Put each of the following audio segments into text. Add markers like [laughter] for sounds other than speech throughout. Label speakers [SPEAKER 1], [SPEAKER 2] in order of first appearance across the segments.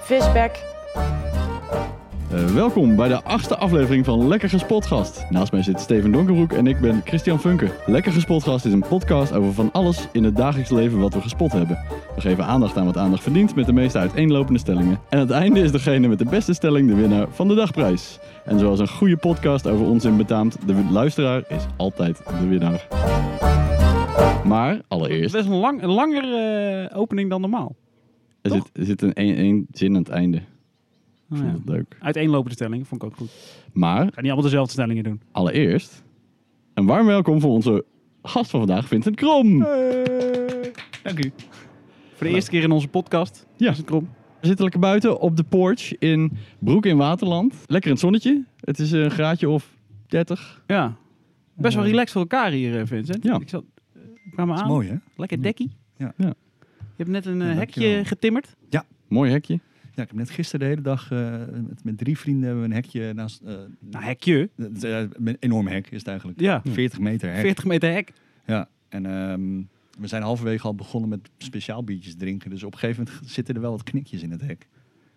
[SPEAKER 1] Visbek.
[SPEAKER 2] Eh, welkom bij de achtste aflevering van Lekker Gespotgast. Naast mij zit Steven Donkerbroek en ik ben Christian Funke. Lekker Gespotgast is een podcast over van alles in het dagelijks leven wat we gespot hebben. We geven aandacht aan wat aandacht verdient met de meeste uiteenlopende stellingen. En aan het einde is degene met de beste stelling de winnaar van de dagprijs. En zoals een goede podcast over onzin betaamt, de luisteraar is altijd de winnaar. Maar allereerst,
[SPEAKER 3] Dat is een, lang, een langere eh, opening dan normaal.
[SPEAKER 2] er zit, er zit een één één zin aan het einde.
[SPEAKER 3] Oh,
[SPEAKER 2] Ik
[SPEAKER 3] ja.
[SPEAKER 2] vond het leuk.
[SPEAKER 3] [laughs] Uiteenlopende stellingen vond ik ook goed. Ik
[SPEAKER 2] Maar
[SPEAKER 3] ga niet allemaal dezelfde stellingen doen.
[SPEAKER 2] Allereerst een warm welkom voor onze gast van vandaag, Vincent Krom.
[SPEAKER 3] Dank u. Eh. Voor de eerste keer in onze podcast.
[SPEAKER 2] Ja.
[SPEAKER 3] Is het krom?
[SPEAKER 2] We zitten lekker buiten op de porch in Broek in Waterland. Lekker in het zonnetje. Het is een graadje of 30.
[SPEAKER 3] Ja. Best wel
[SPEAKER 2] Eh.
[SPEAKER 3] relaxed voor elkaar hier, eh, Vincent.
[SPEAKER 2] Ja.
[SPEAKER 3] Ik zat, eh, kwam aan.
[SPEAKER 4] Dat is mooi, hè?
[SPEAKER 3] Lekker dekkie.
[SPEAKER 4] Ja.
[SPEAKER 2] Ja.
[SPEAKER 3] Je hebt net een eh,
[SPEAKER 4] Ja,
[SPEAKER 3] hekje
[SPEAKER 4] dankjewel.
[SPEAKER 3] getimmerd.
[SPEAKER 2] Mooi hekje.
[SPEAKER 4] Ja, ik heb net gisteren de hele dag eh, met, met drie vrienden hebben we een hekje naast... eh,
[SPEAKER 3] Nou, hekje.
[SPEAKER 4] het is, eh, een enorm hek is het eigenlijk.
[SPEAKER 3] Ja.
[SPEAKER 4] 40 meter hek.
[SPEAKER 3] 40 meter hek.
[SPEAKER 4] Ja, en ehm, we zijn halverwege al begonnen met speciaal biertjes drinken. Dus op een gegeven moment zitten er wel wat knikjes in het hek.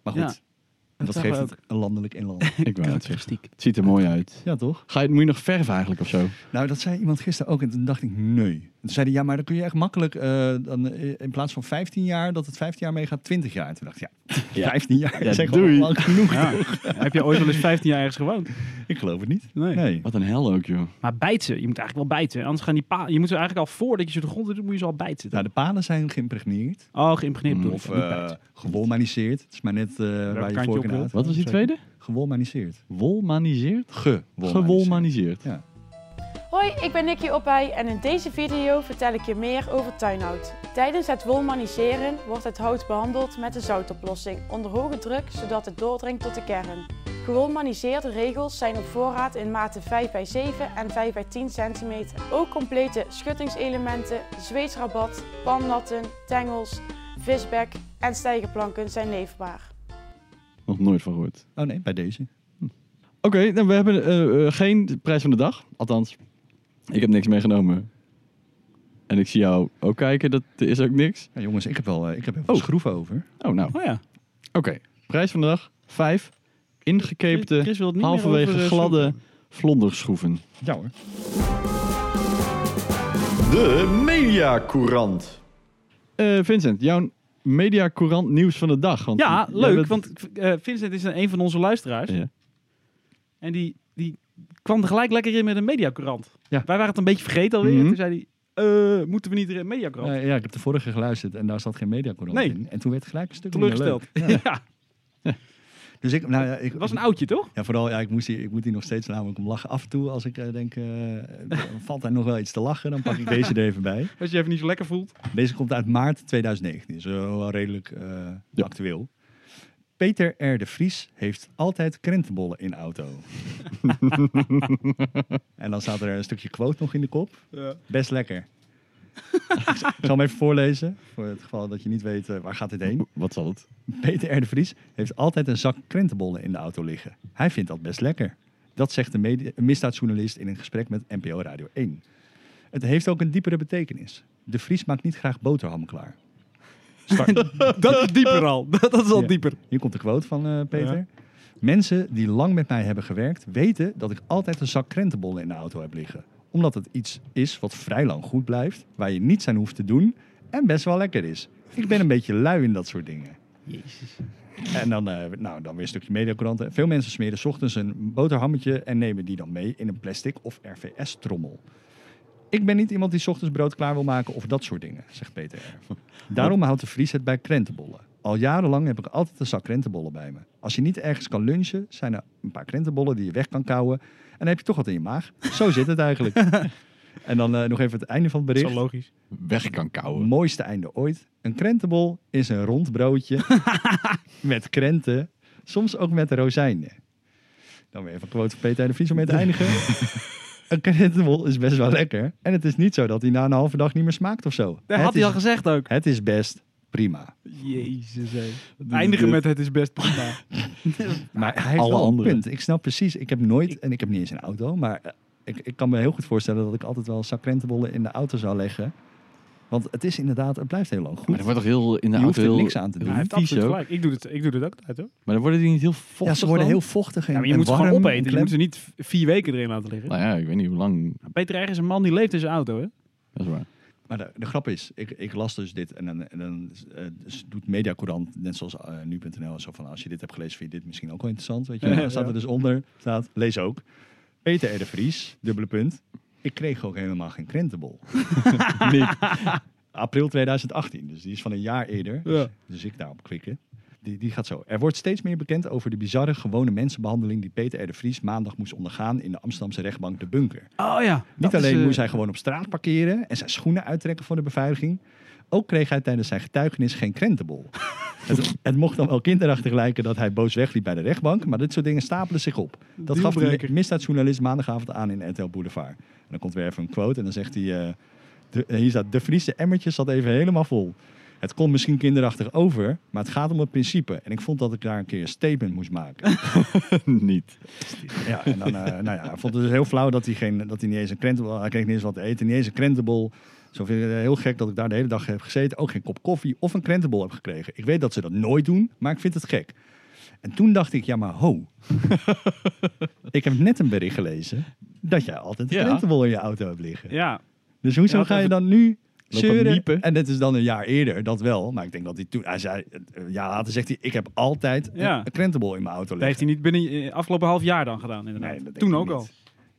[SPEAKER 4] Maar goed,
[SPEAKER 3] Ja,
[SPEAKER 4] dat,
[SPEAKER 3] zag
[SPEAKER 4] geeft
[SPEAKER 3] we
[SPEAKER 4] het landelijk en
[SPEAKER 3] [laughs]
[SPEAKER 4] land.
[SPEAKER 2] Ik wou het zeggen.
[SPEAKER 3] Karakteristiek.
[SPEAKER 2] Het ziet er mooi uit.
[SPEAKER 4] ja, toch?
[SPEAKER 2] Ga je, moet je nog verven eigenlijk of zo?
[SPEAKER 4] Nou, dat zei iemand gisteren ook. En toen dacht ik, nee. En Toen zeiden ja, maar dan kun je echt makkelijk... eh, dan, eh, in plaats van 15 jaar, dat het 15 jaar meegaat, 20 jaar. En toen dacht ik, ja,
[SPEAKER 2] Ja.
[SPEAKER 4] 15 jaar
[SPEAKER 2] Ja,
[SPEAKER 4] is echt wel
[SPEAKER 2] doei.
[SPEAKER 4] lang genoeg.
[SPEAKER 3] Ja. [laughs] Heb je ooit wel eens 15 jaar ergens gewoond?
[SPEAKER 4] Ik geloof het niet.
[SPEAKER 3] Nee.
[SPEAKER 4] Nee.
[SPEAKER 2] Wat een hel ook, joh.
[SPEAKER 3] Maar bijten. Je moet eigenlijk wel bijten. Anders gaan die pa Je moet ze eigenlijk al voordat je ze de grond in doet, moet je ze al bijten.
[SPEAKER 4] Nou, de palen zijn geïmpregneerd.
[SPEAKER 3] Oh, geïmpregneerd
[SPEAKER 2] Mm,
[SPEAKER 3] bedoel ik.
[SPEAKER 4] Of
[SPEAKER 3] Niet
[SPEAKER 4] eh
[SPEAKER 3] bijten.
[SPEAKER 4] gewolmaniseerd. Het is maar net eh, waar je
[SPEAKER 3] kantje
[SPEAKER 4] voor
[SPEAKER 3] op
[SPEAKER 4] kan
[SPEAKER 3] wilt.
[SPEAKER 4] uit.
[SPEAKER 2] Wat was die tweede?
[SPEAKER 4] Gewolmaniseerd.
[SPEAKER 2] Wolmaniseerd?
[SPEAKER 4] Gewolmaniseerd.
[SPEAKER 2] Gewolmaniseerd.
[SPEAKER 4] Ja.
[SPEAKER 1] Hoi, ik ben Nicky Oppij en in deze video vertel ik je meer over tuinhout. Tijdens het wolmaniseren wordt het hout behandeld met een zoutoplossing onder hoge druk zodat het doordringt tot de kern. Gewolmaniseerde regels zijn op voorraad in maten 5 bij 7 en 5 bij 10 cm. Ook complete schuttingselementen, zweetsrabat, pannatten, tengels, visbek en stijgerplanken zijn leefbaar.
[SPEAKER 2] Nog nooit van gehoord.
[SPEAKER 4] Oh nee, bij deze.
[SPEAKER 2] Oké, nou, we hebben eh, eh, geen prijs van de dag. Althans, ik heb niks meegenomen. En ik zie jou ook kijken, dat is ook niks.
[SPEAKER 4] Ja, jongens, ik heb wel eh, ik heb even
[SPEAKER 2] Oh.
[SPEAKER 4] schroeven over.
[SPEAKER 2] Oh, nou.
[SPEAKER 3] Oh ja.
[SPEAKER 2] Oké, prijs van de dag. Vijf ingekeepte,
[SPEAKER 3] Chris wil het niet meer
[SPEAKER 2] halverwege
[SPEAKER 3] over, eh,
[SPEAKER 2] gladde
[SPEAKER 3] schroeven.
[SPEAKER 2] vlonderschroeven.
[SPEAKER 4] Ja hoor.
[SPEAKER 5] De Mediacourant.
[SPEAKER 2] Eh, Vincent, jouw mediacourant nieuws van de dag. Want
[SPEAKER 3] Ja,
[SPEAKER 2] jij
[SPEAKER 3] leuk.
[SPEAKER 2] bent-
[SPEAKER 3] Want eh, Vincent is een van onze luisteraars.
[SPEAKER 2] Ja.
[SPEAKER 3] En die, die kwam er gelijk lekker in met een mediacourant.
[SPEAKER 4] Ja.
[SPEAKER 3] Wij waren het een beetje vergeten alweer.
[SPEAKER 2] Mhm.
[SPEAKER 3] En toen zei hij, eh, moeten we niet een mediacourant?
[SPEAKER 4] Eh, ja, ik heb de vorige geluisterd en daar zat geen mediacorant
[SPEAKER 3] Nee.
[SPEAKER 4] in. En toen werd het gelijk een stuk minder
[SPEAKER 3] Teleurgesteld.
[SPEAKER 4] leuk.
[SPEAKER 3] [laughs] Ja.
[SPEAKER 4] [laughs] Dus ik, nou, ja, ik
[SPEAKER 3] Het was een oudje, toch?
[SPEAKER 4] Ja, vooral, ja, ik, moest hier, ik moet hier nog steeds namelijk om lachen. Af en toe, als ik eh, denk, eh, valt er nog wel iets te lachen, dan
[SPEAKER 3] [laughs]
[SPEAKER 4] pak ik deze er even bij.
[SPEAKER 3] Als je je even niet zo lekker voelt.
[SPEAKER 4] Deze komt uit maart 2019, dus eh, wel redelijk eh,
[SPEAKER 2] Ja.
[SPEAKER 4] actueel. Peter R. de Vries heeft altijd krentenbollen in de auto. en dan staat er een stukje quote nog in de kop. Best lekker. ik zal hem even voorlezen, voor het geval dat je niet weet eh, waar gaat dit heen.
[SPEAKER 2] Wat zal het?
[SPEAKER 4] Peter R. de Vries heeft altijd een zak krentenbollen in de auto liggen. Hij vindt dat best lekker. Dat zegt de medi- een misdaadjournalist in een gesprek met NPO Radio 1. Het heeft ook een diepere betekenis. De Vries maakt niet graag boterham klaar. Start.
[SPEAKER 3] [laughs] Dat is dieper al. [laughs] Dat is al
[SPEAKER 4] Ja.
[SPEAKER 3] dieper.
[SPEAKER 4] Hier komt de quote van eh, Peter. Mensen die lang met mij hebben gewerkt weten dat ik altijd een zak krentenbollen in de auto heb liggen. Omdat het iets is wat vrij lang goed blijft, waar je niets aan hoeft te doen en best wel lekker is. Ik ben een beetje lui in dat soort dingen. En dan, eh, nou, dan weer een stukje mediacouranten. Veel mensen smeren 's ochtends een boterhammetje en nemen die dan mee in een plastic of RVS-trommel. Ik ben niet iemand die 's ochtends brood klaar wil maken of dat soort dingen, zegt Peter R. Daarom houdt de Vries het bij krentenbollen. Al jarenlang heb ik altijd een zak krentenbollen bij me. Als je niet ergens kan lunchen, zijn er een paar krentenbollen die je weg kan kauwen. En dan heb je toch wat in je maag. Zo zit het eigenlijk. en dan eh, nog even het einde van het
[SPEAKER 3] Dat is
[SPEAKER 4] bericht.
[SPEAKER 3] wel logisch.
[SPEAKER 2] Weg kan kouwen.
[SPEAKER 4] Mooiste einde ooit. Een krentenbol is een rond [laughs] broodje met krenten, soms ook met rozijnen. Dan weer even een quote van Peter R. de Vries om mee te [laughs] eindigen. een krentenbol is best wel lekker. En het is niet zo dat hij na een halve dag niet meer smaakt of zo.
[SPEAKER 3] Dat
[SPEAKER 4] het,
[SPEAKER 3] had hij
[SPEAKER 4] is,
[SPEAKER 3] al gezegd ook.
[SPEAKER 4] het is best prima.
[SPEAKER 3] Jezus, hé. Eindigen met het is best prima.
[SPEAKER 4] Maar hij heeft
[SPEAKER 2] alle
[SPEAKER 4] wel
[SPEAKER 2] anderen.
[SPEAKER 4] een punt. Ik snap precies. Ik heb nooit, en ik heb niet eens een auto, maar eh, ik, ik kan me heel goed voorstellen dat ik altijd wel zak krentenbollen in de auto zou leggen. Want het is inderdaad, het blijft heel lang goed.
[SPEAKER 2] Maar er wordt toch heel in de
[SPEAKER 4] Je hoeft
[SPEAKER 2] auto
[SPEAKER 4] er
[SPEAKER 2] heel,
[SPEAKER 4] niks aan te doen.
[SPEAKER 2] heel
[SPEAKER 4] Ja,
[SPEAKER 6] Hij heeft
[SPEAKER 2] vies
[SPEAKER 6] absoluut
[SPEAKER 2] ook.
[SPEAKER 6] gelijk. Ik doe, het, ik doe dit ook altijd hoor.
[SPEAKER 2] Maar dan worden die niet heel vochtig
[SPEAKER 4] Ja, ze worden
[SPEAKER 2] dan?
[SPEAKER 4] heel vochtig en,
[SPEAKER 6] Ja, maar je
[SPEAKER 4] en
[SPEAKER 6] moet ze gewoon
[SPEAKER 4] warm en
[SPEAKER 6] opeten. Je
[SPEAKER 4] klem.
[SPEAKER 6] moet ze niet vier weken erin laten liggen.
[SPEAKER 2] Nou ja, ik weet niet hoe lang.
[SPEAKER 3] Peter Erg is een man die leeft in zijn auto, hè?
[SPEAKER 2] Dat is waar. [laughs]
[SPEAKER 4] Maar de, de grap is, ik, ik las dus dit en dan, en dan eh, dus doet Mediacourant, net zoals eh, nu.nl, en zo van als je dit hebt gelezen, vind je dit misschien ook wel interessant. Weet je? Dan staat er dus onder, staat, lees ook. Peter R. de Vries, dubbele punt. Ik kreeg ook helemaal geen
[SPEAKER 6] [laughs]
[SPEAKER 4] krentenbol.
[SPEAKER 2] Niet.
[SPEAKER 4] April 2018, dus die is van een jaar eerder. Dus, dus ik daarop klikken. Die, die gaat zo. Er wordt steeds meer bekend over de bizarre gewone mensenbehandeling die Peter R. de Vries maandag moest ondergaan in de Amsterdamse rechtbank De Bunker.
[SPEAKER 3] Oh ja.
[SPEAKER 4] Niet alleen
[SPEAKER 6] eh,
[SPEAKER 4] moest hij gewoon op straat parkeren en zijn schoenen uittrekken voor de beveiliging. Ook kreeg hij tijdens zijn getuigenis geen krentenbol. het, het mocht dan wel kinderachtig lijken dat hij boos wegliep bij de rechtbank, maar dit soort dingen stapelen zich op. Dat gaf de
[SPEAKER 6] Dealbreaker.
[SPEAKER 4] misdaadjournalist maandagavond aan in RTL Boulevard. En dan komt weer even een quote en dan zegt hij, eh, de, hier staat, de Friese emmertje zat even helemaal vol. Het komt misschien kinderachtig over, maar het gaat om het principe. En ik vond dat ik daar een keer een statement moest maken.
[SPEAKER 2] niet.
[SPEAKER 4] Ja, en dan, eh, nou ja, ik vond het dus heel flauw dat hij, geen, dat hij niet eens een krentenbol... Hij kreeg niet eens wat te eten, niet eens een krentenbol. Zo vind ik het heel gek dat ik daar de hele dag heb gezeten. Ook geen kop koffie of een krentenbol heb gekregen. Ik weet dat ze dat nooit doen, maar ik vind het gek. En toen dacht ik, ja maar ho.
[SPEAKER 3] [laughs]
[SPEAKER 4] ik heb net een bericht gelezen dat jij altijd een
[SPEAKER 2] Ja.
[SPEAKER 4] krentenbol in je auto hebt liggen.
[SPEAKER 3] Ja.
[SPEAKER 4] Dus hoezo
[SPEAKER 3] Ja,
[SPEAKER 4] ga je
[SPEAKER 3] even
[SPEAKER 4] dan nu
[SPEAKER 2] lopen miepen.
[SPEAKER 4] zeuren? En dit is dan een jaar eerder, dat wel. Maar ik denk dat hij toen... Hij zei, eh, ja, later zegt hij, ik heb altijd een-
[SPEAKER 3] Ja.
[SPEAKER 4] een krentenbol in mijn auto
[SPEAKER 3] Dat heeft
[SPEAKER 4] liggen.
[SPEAKER 3] hij niet binnen eh, afgelopen half jaar dan gedaan, inderdaad.
[SPEAKER 4] Nee, dat denk
[SPEAKER 3] Toen
[SPEAKER 4] ik
[SPEAKER 3] ook
[SPEAKER 4] niet.
[SPEAKER 3] al.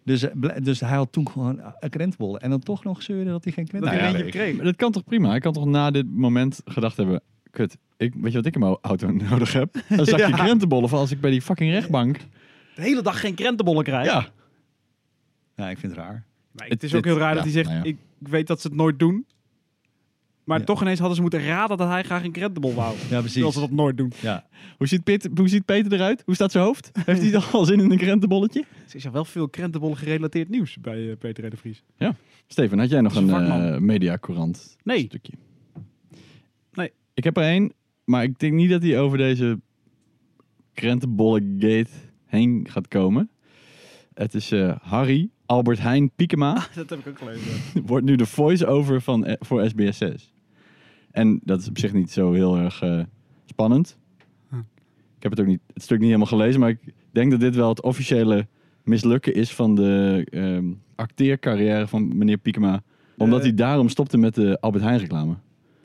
[SPEAKER 4] Dus, eh, bl- dus hij had toen gewoon een krentenbol. En dan toch nog zeuren dat hij geen
[SPEAKER 6] Dat
[SPEAKER 4] krentenbol
[SPEAKER 6] hij
[SPEAKER 2] Nou ja,
[SPEAKER 6] er eentje kreeg.
[SPEAKER 2] Maar dat kan toch prima? Hij kan toch na dit moment gedacht hebben... Kut, ik, weet je wat ik in mijn auto [laughs] nodig heb? Een zakje krentenbollen voor als ik bij die fucking rechtbank...
[SPEAKER 3] De hele dag geen krentenbollen krijgen.
[SPEAKER 2] Ja.
[SPEAKER 4] Ja, ik vind het raar.
[SPEAKER 3] Maar
[SPEAKER 2] Het-
[SPEAKER 3] het is ook
[SPEAKER 2] dit-
[SPEAKER 3] heel raar dat
[SPEAKER 2] ja,
[SPEAKER 3] hij zegt,
[SPEAKER 2] nou ja.
[SPEAKER 3] ik weet dat ze het nooit doen. Maar
[SPEAKER 4] Ja.
[SPEAKER 3] toch ineens hadden ze moeten raden dat hij graag een krentenbol wou.
[SPEAKER 4] Ja, precies.
[SPEAKER 3] Terwijl ze dat nooit doen.
[SPEAKER 4] Ja.
[SPEAKER 2] Hoe ziet, Pit, hoe ziet Peter eruit? Hoe staat zijn hoofd? Heeft hij dan al zin in een krentenbolletje?
[SPEAKER 3] Dus is er wel veel krentenbollen gerelateerd nieuws bij eh, Peter R. de
[SPEAKER 4] [laughs]
[SPEAKER 3] Vries.
[SPEAKER 2] Steven, had jij nog
[SPEAKER 3] Dat
[SPEAKER 2] een
[SPEAKER 3] is vakman.
[SPEAKER 2] eh mediacourant
[SPEAKER 3] Nee.
[SPEAKER 2] stukje?
[SPEAKER 3] Nee.
[SPEAKER 2] Ik heb er één, maar ik denk niet dat hij over deze krentenbollengate heen gaat komen. Het is eh, Harry Albert Heijn Piekema.
[SPEAKER 3] Dat heb ik ook gelezen.
[SPEAKER 2] wordt nu de voice-over van, eh, voor SBS6. En dat is op zich niet zo heel erg eh, spannend.
[SPEAKER 3] Hm.
[SPEAKER 2] Ik heb het ook niet, het stuk niet helemaal gelezen, maar ik denk dat dit wel het officiële mislukken is van de ehm, acteercarrière van meneer Piekema. Omdat
[SPEAKER 3] Eh.
[SPEAKER 2] hij daarom stopte met de Albert Heijn reclame.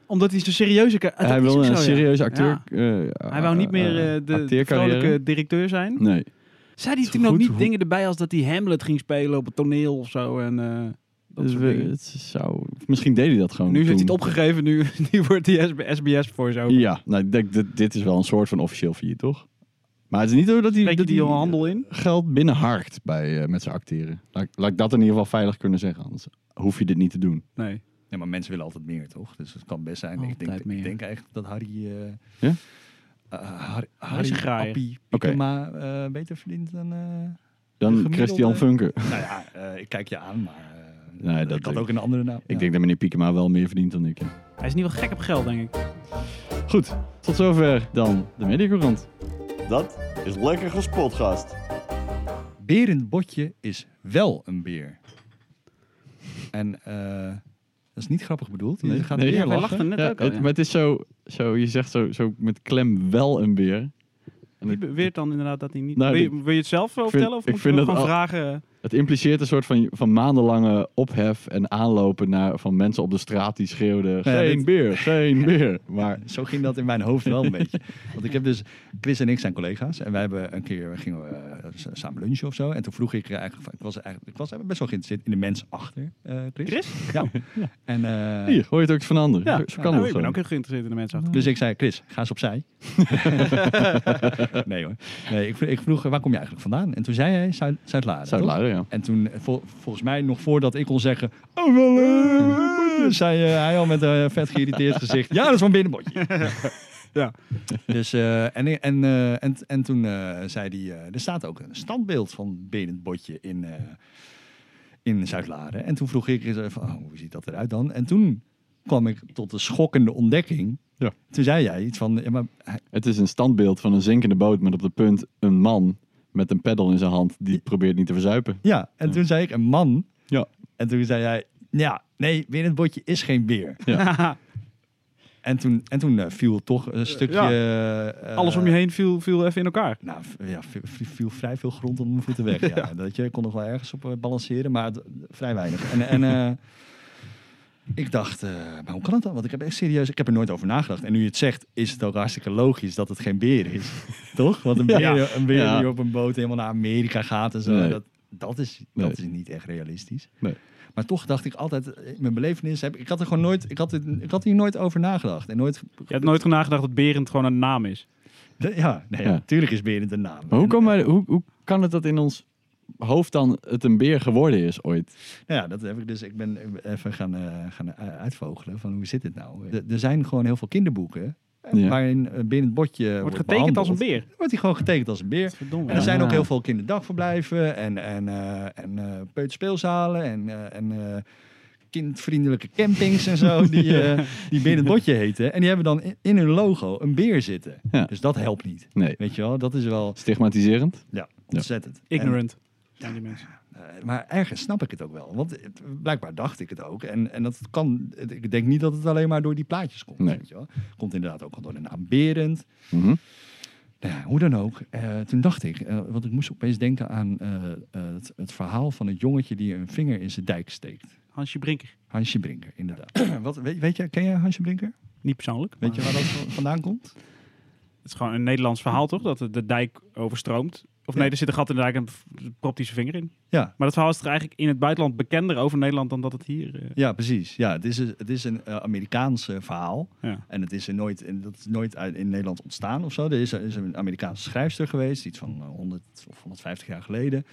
[SPEAKER 3] Omdat hij zo'n serieuze... ka- dat
[SPEAKER 2] hij
[SPEAKER 3] is ook
[SPEAKER 2] wilde
[SPEAKER 3] zo,
[SPEAKER 2] een
[SPEAKER 3] ja.
[SPEAKER 2] serieuze acteur.
[SPEAKER 3] Ja.
[SPEAKER 2] eh,
[SPEAKER 3] Hij wou niet
[SPEAKER 2] eh,
[SPEAKER 3] meer eh, de
[SPEAKER 2] acteercarrière.
[SPEAKER 3] vrolijke directeur zijn.
[SPEAKER 2] Nee.
[SPEAKER 3] Zei hij
[SPEAKER 2] Goed,
[SPEAKER 3] toen ook niet
[SPEAKER 2] hoe-
[SPEAKER 3] dingen erbij als dat hij Hamlet ging spelen op het toneel of zo? En, eh, dat
[SPEAKER 2] Dus
[SPEAKER 3] soort
[SPEAKER 2] we-
[SPEAKER 3] dingen?
[SPEAKER 2] het zou, misschien deed hij dat gewoon.
[SPEAKER 3] nu heeft hij het
[SPEAKER 2] toen.
[SPEAKER 3] opgegeven, nu, [laughs] nu wordt hij SB SBS voice-over.
[SPEAKER 2] Ja, nou, ik denk, dit, dit is wel een soort van officieel failliet, toch? Maar het is niet zo dat hij,
[SPEAKER 3] Spreek je
[SPEAKER 2] dat
[SPEAKER 3] die
[SPEAKER 2] hij
[SPEAKER 3] handel in?
[SPEAKER 2] geld binnenharkt bij, eh, met zijn acteren. Laat, ik- laat ik dat in ieder geval veilig kunnen zeggen, anders hoef je dit niet te doen.
[SPEAKER 3] Nee.
[SPEAKER 4] ja, maar mensen willen altijd meer, toch? Dus het kan best zijn. Ik
[SPEAKER 3] Altijd
[SPEAKER 4] denk, ik
[SPEAKER 3] meer.
[SPEAKER 4] denk eigenlijk dat Harry... eh
[SPEAKER 2] Ja?
[SPEAKER 4] eh, Harry,
[SPEAKER 3] is een
[SPEAKER 4] Harry
[SPEAKER 3] graaier.
[SPEAKER 4] Appie
[SPEAKER 2] Oké.
[SPEAKER 4] Piekema eh, beter verdient
[SPEAKER 2] [laughs]
[SPEAKER 4] dan... eh,
[SPEAKER 2] Dan
[SPEAKER 4] De gemiddelde-
[SPEAKER 2] Christian Funke.
[SPEAKER 4] nou ja, eh, ik kijk je aan, maar... eh,
[SPEAKER 2] Nee, dat
[SPEAKER 4] ik had
[SPEAKER 2] denk-
[SPEAKER 4] ook een andere naam.
[SPEAKER 2] Ik denk dat meneer Piekema wel meer verdient dan ik. ja.
[SPEAKER 3] Hij is niet wel gek op geld, denk ik.
[SPEAKER 2] Goed, tot zover dan de Mediacorant.
[SPEAKER 5] Dat is lekker gespot, gast.
[SPEAKER 4] Berend Botje is wel een beer. En eh, dat is niet grappig bedoeld.
[SPEAKER 2] Nee,
[SPEAKER 4] Je gaat
[SPEAKER 2] nee, wij
[SPEAKER 4] weer lachen.
[SPEAKER 3] lachten net
[SPEAKER 2] Ja,
[SPEAKER 3] ook al,
[SPEAKER 2] het,
[SPEAKER 3] ja.
[SPEAKER 2] Maar het is zo, zo je zegt zo, zo met klem wel een beer. En
[SPEAKER 3] Wie
[SPEAKER 2] het,
[SPEAKER 3] beweert dan inderdaad dat hij niet...
[SPEAKER 2] Nou,
[SPEAKER 3] wil, je,
[SPEAKER 2] ik-
[SPEAKER 3] wil je het zelf wel
[SPEAKER 2] ik vind-
[SPEAKER 3] vertellen of
[SPEAKER 2] ik
[SPEAKER 3] moet
[SPEAKER 2] vind
[SPEAKER 3] je wel
[SPEAKER 2] dat
[SPEAKER 3] gewoon
[SPEAKER 2] al-
[SPEAKER 3] vragen?
[SPEAKER 2] het impliceert een soort van, van maandenlange ophef en aanlopen naar, van mensen op de straat die schreeuwden...
[SPEAKER 4] ja,
[SPEAKER 2] geen
[SPEAKER 4] dit-
[SPEAKER 2] beer, geen beer. Maar
[SPEAKER 4] Zo ging dat in mijn hoofd wel een beetje. Want ik heb dus, Chris en ik zijn collega's. En wij hebben een keer, gingen we eh, s- samen lunchen of zo. En toen vroeg ik eh, eigenlijk, van- ik was, eigenlijk, ik was eigenlijk best wel geïnteresseerd in de mens achter eh, Chris.
[SPEAKER 3] Chris?
[SPEAKER 4] Ja. En, eh,
[SPEAKER 2] hier, hoor je het ook van anderen.
[SPEAKER 3] Ja,
[SPEAKER 2] Zo- zo kan
[SPEAKER 3] Nou,
[SPEAKER 2] het
[SPEAKER 3] ik ben
[SPEAKER 2] gewoon.
[SPEAKER 3] ook heel geïnteresseerd in de mensen achter.
[SPEAKER 4] dus ik zei, Chris, ga eens opzij. nee hoor. Nee, ik, vro- ik vroeg, eh, waar kom je eigenlijk vandaan? En toen zei hij, Zuid- Zuid-Laren.
[SPEAKER 2] Zou het
[SPEAKER 4] toch?
[SPEAKER 2] laden, ja.
[SPEAKER 4] En toen, eh, vol- volgens mij, nog voordat ik kon zeggen... Oh, wel, eh, eh," zei eh, hij al met een vet geïrriteerd gezicht... Ja, dat is van binnenbordje.
[SPEAKER 3] Ja.
[SPEAKER 4] Dus, eh, en, en, eh, en, en toen eh, zei hij... eh, er staat ook een standbeeld van binnenbordje in, eh in Zuid-Laren. En toen vroeg ik eens even... oh, hoe ziet dat eruit dan? En toen kwam ik tot de schokkende ontdekking.
[SPEAKER 2] Ja.
[SPEAKER 4] Toen zei jij iets van... Ja, maar hij-
[SPEAKER 2] Het is een standbeeld van een zinkende boot met op de punt een man met een peddel in zijn hand die probeert niet te verzuipen.
[SPEAKER 4] ja. en toen zei ik, een man...
[SPEAKER 2] Ja.
[SPEAKER 4] En toen zei jij... Ja, nee, weer in het botje is geen weer.
[SPEAKER 3] [laughs]
[SPEAKER 4] En toen, en toen eh, viel toch een stukje... eh,
[SPEAKER 6] Alles om je heen viel, viel even in elkaar.
[SPEAKER 4] Nou, v- ja, v- v- viel vrij veel grond onder mijn
[SPEAKER 2] [laughs]
[SPEAKER 4] voeten weg. Ja. Dat je kon nog wel ergens op eh, balanceren, maar d- vrij weinig. En, en eh, ik dacht, eh, maar hoe kan dat dan? Want ik heb echt serieus, ik heb er nooit over nagedacht. En nu je het zegt, is het ook hartstikke logisch dat het geen
[SPEAKER 2] [laughs]
[SPEAKER 4] beer is. Toch? Want een beer, een beer
[SPEAKER 2] Ja.
[SPEAKER 4] die op een boot helemaal naar Amerika gaat en zo,
[SPEAKER 2] Nee.
[SPEAKER 4] dat, dat, is,
[SPEAKER 2] Nee.
[SPEAKER 4] dat is niet echt realistisch.
[SPEAKER 2] Nee.
[SPEAKER 4] Maar toch dacht ik altijd, eh, in mijn belevenis heb ik- ik had er gewoon nooit, ik had, het, ik had hier nooit over nagedacht. En nooit,
[SPEAKER 6] Je hebt nooit nagedacht dat Berend gewoon een naam is.
[SPEAKER 4] de- ja, nee,
[SPEAKER 2] Ja.
[SPEAKER 4] natuurlijk is Berend een naam.
[SPEAKER 2] Maar hoe,
[SPEAKER 4] En-
[SPEAKER 2] kan wij, hoe, hoe kan het dat in ons hoofd dan het een beer geworden is ooit?
[SPEAKER 4] Nou ja, dat heb ik dus. Ik ben even gaan, eh, gaan eh, uitvogelen van hoe zit dit nou? De- Er zijn gewoon heel veel kinderboeken eh,
[SPEAKER 2] Ja.
[SPEAKER 4] waarin eh, binnen het bordje wordt,
[SPEAKER 6] Wordt getekend als een
[SPEAKER 4] behandeld.
[SPEAKER 6] beer.
[SPEAKER 4] Wordt hij gewoon getekend als een beer.
[SPEAKER 6] Verdomme.
[SPEAKER 4] En er zijn
[SPEAKER 2] Ah.
[SPEAKER 4] ook heel veel kinderdagverblijven en, en, eh en eh, peuterspeelzalen en, eh, en eh, kindvriendelijke campings en
[SPEAKER 6] [laughs]
[SPEAKER 4] zo die, eh, die binnen het bordje heten. En die hebben dan in, in hun logo een beer zitten.
[SPEAKER 2] Ja.
[SPEAKER 4] Dus dat helpt niet.
[SPEAKER 2] Nee.
[SPEAKER 4] Weet je wel, dat is wel
[SPEAKER 2] Stigmatiserend?
[SPEAKER 4] ja, ontzettend. En-
[SPEAKER 6] Ignorant. Zijn die mensen.
[SPEAKER 4] eh, maar ergens snap ik het ook wel. Want het- blijkbaar dacht ik het ook. En, en dat kan. het- Ik denk niet dat het alleen maar door die plaatjes komt.
[SPEAKER 2] Nee.
[SPEAKER 4] Weet je wel. Komt inderdaad ook al door de naam Berend.
[SPEAKER 2] Mhm.
[SPEAKER 4] Nou ja, hoe dan ook. eh, toen dacht ik, eh, want ik moest opeens denken aan eh, eh, het, het verhaal van het jongetje die een vinger in zijn dijk steekt.
[SPEAKER 6] Hansje Brinker.
[SPEAKER 4] Hansje Brinker, inderdaad. [clears throat] Wat, weet, weet je, ken je Hansje Brinker?
[SPEAKER 6] Niet persoonlijk.
[SPEAKER 4] Weet je
[SPEAKER 6] maar
[SPEAKER 4] waar dat v- vandaan komt?
[SPEAKER 6] Het is gewoon een Nederlands verhaal, toch? Dat de- de dijk overstroomt. Of nee, er zit een gat in de dijk en f- propt hij zijn vinger in.
[SPEAKER 4] Ja,
[SPEAKER 6] Maar dat verhaal is er eigenlijk in het buitenland bekender over Nederland dan dat het hier... eh,
[SPEAKER 4] Ja, precies. Ja, het is, het is een eh, Amerikaans eh, verhaal.
[SPEAKER 6] Ja.
[SPEAKER 4] En het is er nooit, en dat is nooit uit, in Nederland ontstaan of zo. Er is, er is een Amerikaanse schrijfster geweest, iets van eh, 100 of 150 jaar geleden.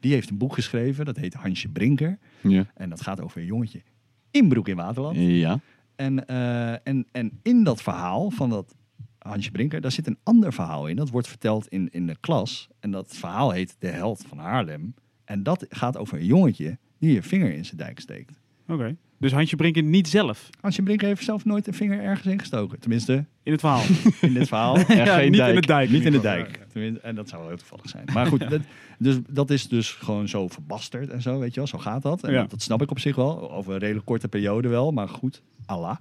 [SPEAKER 4] Die heeft een boek geschreven, dat heet Hansje Brinker.
[SPEAKER 2] Ja.
[SPEAKER 4] En dat gaat over een jongetje in Broek in Waterland.
[SPEAKER 2] Ja.
[SPEAKER 4] En, eh, en, en in dat verhaal van dat Hansje Brinker, daar zit een ander verhaal in. Dat wordt verteld in, in de klas. En dat verhaal heet De Held van Haarlem. En dat gaat over een jongetje die een vinger in zijn dijk steekt.
[SPEAKER 6] Oké. Dus Hansje Brinker niet zelf
[SPEAKER 4] Hansje Brink heeft zelf nooit een vinger ergens ingestoken. Tenminste,
[SPEAKER 6] in het
[SPEAKER 4] [laughs]
[SPEAKER 6] verhaal.
[SPEAKER 4] in dit verhaal.
[SPEAKER 2] En geen
[SPEAKER 6] niet
[SPEAKER 2] dijk.
[SPEAKER 6] in de dijk.
[SPEAKER 4] Niet in de
[SPEAKER 6] ieder geval. [laughs]
[SPEAKER 4] dijk. Tenminste, en dat zou wel heel toevallig zijn. Maar goed, dat, dus, dat is dus gewoon zo verbasterd en zo, weet je wel. Zo gaat dat. En
[SPEAKER 6] Ja.
[SPEAKER 4] dat, dat snap ik op zich wel. Over een redelijk korte periode wel. Maar goed, Allah.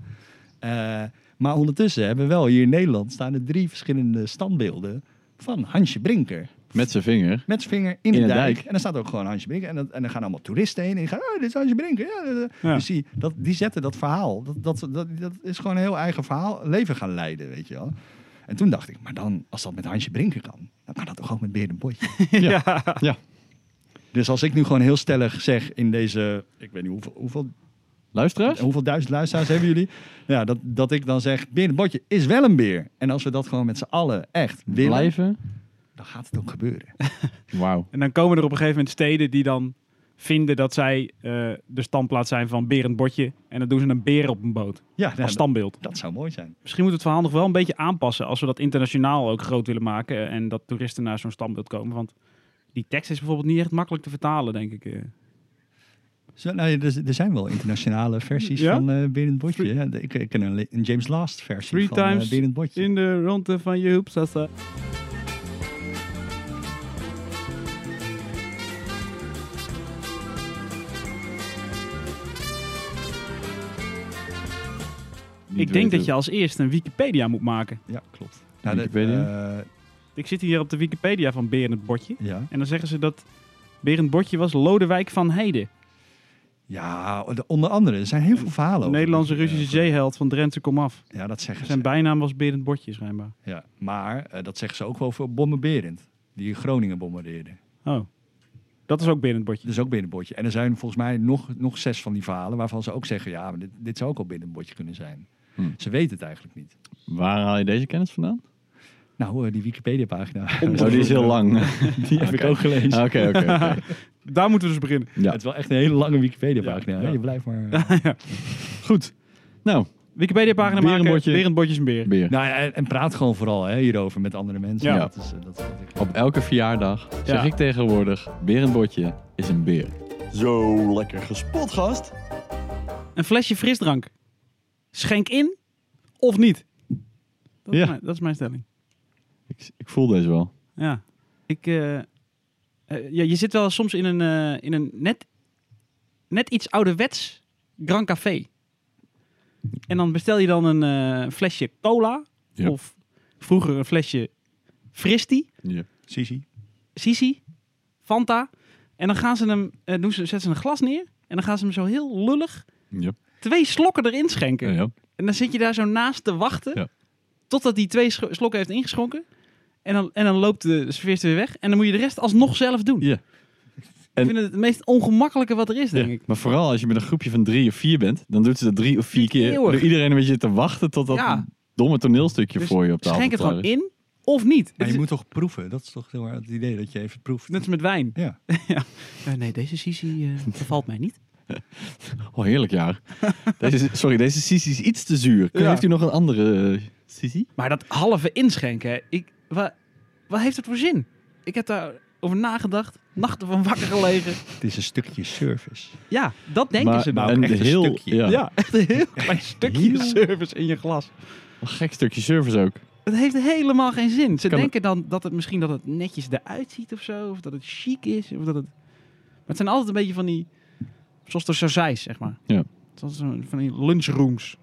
[SPEAKER 4] Eh, maar ondertussen hebben we wel hier in Nederland... staan er drie verschillende standbeelden van Hansje Brinker.
[SPEAKER 2] Met zijn vinger.
[SPEAKER 4] Met zijn vinger in,
[SPEAKER 2] In
[SPEAKER 4] de
[SPEAKER 2] een
[SPEAKER 4] dijk.
[SPEAKER 2] dijk.
[SPEAKER 4] En dan staat ook gewoon Hansje Brinker. En, dat, en dan gaan allemaal toeristen heen. En die gaan, oh, dit is Hansje Brinker. Ja, dat- dat.
[SPEAKER 6] Ja.
[SPEAKER 4] Dus die, dat, die zetten dat verhaal. Dat, dat, dat, dat is gewoon een heel eigen verhaal. Leven gaan leiden, weet je wel. En toen dacht ik, maar dan, als dat met Hansje Brinker kan, dan kan dat toch ook met Beer en Botje. [laughs]
[SPEAKER 2] Ja.
[SPEAKER 4] dus als ik nu gewoon heel stellig zeg in deze, ik weet niet hoeveel, hoeveel,
[SPEAKER 2] Luisteraars?
[SPEAKER 4] hoeveel duizend luisteraars hebben jullie. Ja, dat, dat ik dan zeg, Beer en Botje is wel een beer. En als we dat gewoon met z'n allen echt willen,
[SPEAKER 2] Blijven?
[SPEAKER 4] dan gaat het ook gebeuren.
[SPEAKER 2] Wauw.
[SPEAKER 6] En dan komen er op een gegeven moment steden die dan vinden dat zij eh, de standplaats zijn van Berend Botje. En dan doen ze een beer op een boot.
[SPEAKER 4] Ja, nou,
[SPEAKER 6] Als
[SPEAKER 4] dat,
[SPEAKER 6] standbeeld.
[SPEAKER 4] dat zou mooi zijn.
[SPEAKER 6] Misschien moet het verhaal nog wel een beetje aanpassen als we dat internationaal ook groot willen maken. eh, En dat toeristen naar zo'n standbeeld komen. Want die tekst is bijvoorbeeld niet echt makkelijk te vertalen, denk ik. eh.
[SPEAKER 4] Zo, nou, ja, er, er zijn wel internationale versies
[SPEAKER 6] Ja?
[SPEAKER 4] van eh Binnen het Botje. Ja, de- ik, ik ken een, le- een James Last versie
[SPEAKER 6] Three
[SPEAKER 4] van eh,
[SPEAKER 6] times
[SPEAKER 4] Binnen het Botje.
[SPEAKER 6] In de ronde van je hoep staat ze. Ik denk dat je als eerste een Wikipedia moet maken.
[SPEAKER 4] Ja, klopt. Nou,
[SPEAKER 2] Wikipedia?
[SPEAKER 4] eh,
[SPEAKER 6] Ik zit hier op de Wikipedia van Berend Botje.
[SPEAKER 4] ja.
[SPEAKER 6] En dan zeggen ze dat Berend Botje was Lodewijk van Heide.
[SPEAKER 4] ja, de- onder andere. Er zijn heel veel verhalen
[SPEAKER 6] De
[SPEAKER 4] over.
[SPEAKER 6] Nederlandse
[SPEAKER 4] Eh,
[SPEAKER 6] Russische zeeheld van Drenthe komaf.
[SPEAKER 4] Ja, dat zeggen
[SPEAKER 6] Zijn
[SPEAKER 4] ze.
[SPEAKER 6] bijnaam was Berend Botje schijnbaar.
[SPEAKER 4] Ja. Maar eh, dat zeggen ze ook wel voor Bommenberend. Die Groningen bombardeerden.
[SPEAKER 6] Oh. Dat is ook Berend Botje.
[SPEAKER 4] Dus ook Binnen het Botje. En er zijn volgens mij nog, nog zes van die verhalen waarvan ze ook zeggen... ja, maar dit, dit zou ook al Binnen het Botje kunnen zijn.
[SPEAKER 2] Hm.
[SPEAKER 4] Ze weten het eigenlijk niet.
[SPEAKER 2] Waar haal je deze kennis vandaan?
[SPEAKER 4] Nou, eh, die [laughs] Wikipedia-pagina.
[SPEAKER 2] Oh, die is heel lang. [laughs]
[SPEAKER 4] Die heb ik ook gelezen.
[SPEAKER 2] Ah, Oké, oké, [laughs] oké.
[SPEAKER 6] Daar moeten we dus beginnen.
[SPEAKER 2] Ja.
[SPEAKER 4] Het is wel echt een hele lange Wikipedia-pagina.
[SPEAKER 6] Ja,
[SPEAKER 4] hè?
[SPEAKER 6] ja.
[SPEAKER 4] Je
[SPEAKER 6] [laughs]
[SPEAKER 4] blijft maar...
[SPEAKER 6] Goed.
[SPEAKER 2] Nou,
[SPEAKER 6] Wikipedia pagina
[SPEAKER 2] Berend
[SPEAKER 6] maken.
[SPEAKER 2] Botje.
[SPEAKER 6] Berend Botje is een beer.
[SPEAKER 2] beer.
[SPEAKER 4] Nou, ja, en, en praat gewoon vooral hè, hierover met andere mensen.
[SPEAKER 2] Ja.
[SPEAKER 4] Dat is, eh, dat is wat ik-
[SPEAKER 2] Op elke verjaardag zeg
[SPEAKER 6] Ja.
[SPEAKER 2] ik tegenwoordig, beer een botje is een beer.
[SPEAKER 5] Zo lekker gespot, gast.
[SPEAKER 6] Een flesje frisdrank. Schenk in of niet. Dat,
[SPEAKER 2] Ja.
[SPEAKER 6] is, mijn, dat is mijn stelling.
[SPEAKER 2] Ik, ik voel deze wel.
[SPEAKER 6] Ja. Ik, eh, eh, ja, je zit wel soms in een, eh, in een net, net iets ouderwets Grand Café. En dan bestel je dan een eh, flesje cola.
[SPEAKER 2] Ja.
[SPEAKER 6] Of vroeger een flesje Fristi,
[SPEAKER 2] Ja.
[SPEAKER 4] Sisi.
[SPEAKER 6] Sisi, Fanta. En dan gaan ze hem, eh, doen ze, zetten ze een glas neer. En dan gaan ze hem zo heel lullig
[SPEAKER 2] Ja.
[SPEAKER 6] twee slokken erin schenken.
[SPEAKER 2] Ja, ja.
[SPEAKER 6] En dan zit je daar zo naast te wachten.
[SPEAKER 2] Ja.
[SPEAKER 6] Totdat die twee scho- slokken heeft ingeschonken. En dan, en dan loopt de serveerster weer weg. En dan moet je de rest alsnog zelf doen.
[SPEAKER 2] Ja. En-
[SPEAKER 6] Ik vind het het meest ongemakkelijke wat er is, denk
[SPEAKER 2] Ja,
[SPEAKER 6] ik.
[SPEAKER 2] Maar vooral als je met een groepje van drie of vier bent, dan doet ze dat drie of vier
[SPEAKER 6] Niet
[SPEAKER 2] keer.
[SPEAKER 6] eeuwig.
[SPEAKER 2] Door iedereen een beetje te wachten tot dat
[SPEAKER 6] Ja.
[SPEAKER 2] domme toneelstukje
[SPEAKER 6] Dus
[SPEAKER 2] voor je op tafel
[SPEAKER 6] Schenk het
[SPEAKER 2] klaar
[SPEAKER 6] gewoon
[SPEAKER 2] is.
[SPEAKER 6] in of niet. Het
[SPEAKER 4] Maar
[SPEAKER 6] is
[SPEAKER 4] je moet toch proeven? Dat is toch heel erg het idee dat je even proeft.
[SPEAKER 6] Net als met wijn. [laughs]
[SPEAKER 4] Ja.
[SPEAKER 6] Eh, nee, deze Sisi
[SPEAKER 4] [laughs]
[SPEAKER 6] eh, bevalt mij niet.
[SPEAKER 2] Oh, heerlijk jaar. deze, sorry, deze Sisi is iets te zuur. Kun-
[SPEAKER 6] Ja.
[SPEAKER 2] Heeft u nog een andere eh, Sisi?
[SPEAKER 6] Maar dat halve inschenken, hè, ik, wat, wat heeft het voor zin? Ik heb daar over nagedacht. Nachten van wakker gelegen.
[SPEAKER 4] Het is een stukje service.
[SPEAKER 6] Ja, dat denken
[SPEAKER 2] maar,
[SPEAKER 6] ze
[SPEAKER 2] maar
[SPEAKER 6] nou.
[SPEAKER 2] een
[SPEAKER 4] echt een
[SPEAKER 2] heel,
[SPEAKER 4] stukje.
[SPEAKER 2] Ja,
[SPEAKER 6] Ja, echt een
[SPEAKER 2] [laughs]
[SPEAKER 6] heel klein stukje
[SPEAKER 2] Heel-
[SPEAKER 6] service in je glas.
[SPEAKER 2] Een gek stukje service ook.
[SPEAKER 6] Het heeft helemaal geen zin. Ze
[SPEAKER 2] Kan
[SPEAKER 6] denken dan dat het misschien dat het netjes eruit ziet of zo. Of dat het chic is. Of dat het... Maar het zijn altijd een beetje van die... Zoals de sausijs, zeg maar.
[SPEAKER 2] Ja.
[SPEAKER 6] Zoals een- van die lunchrooms.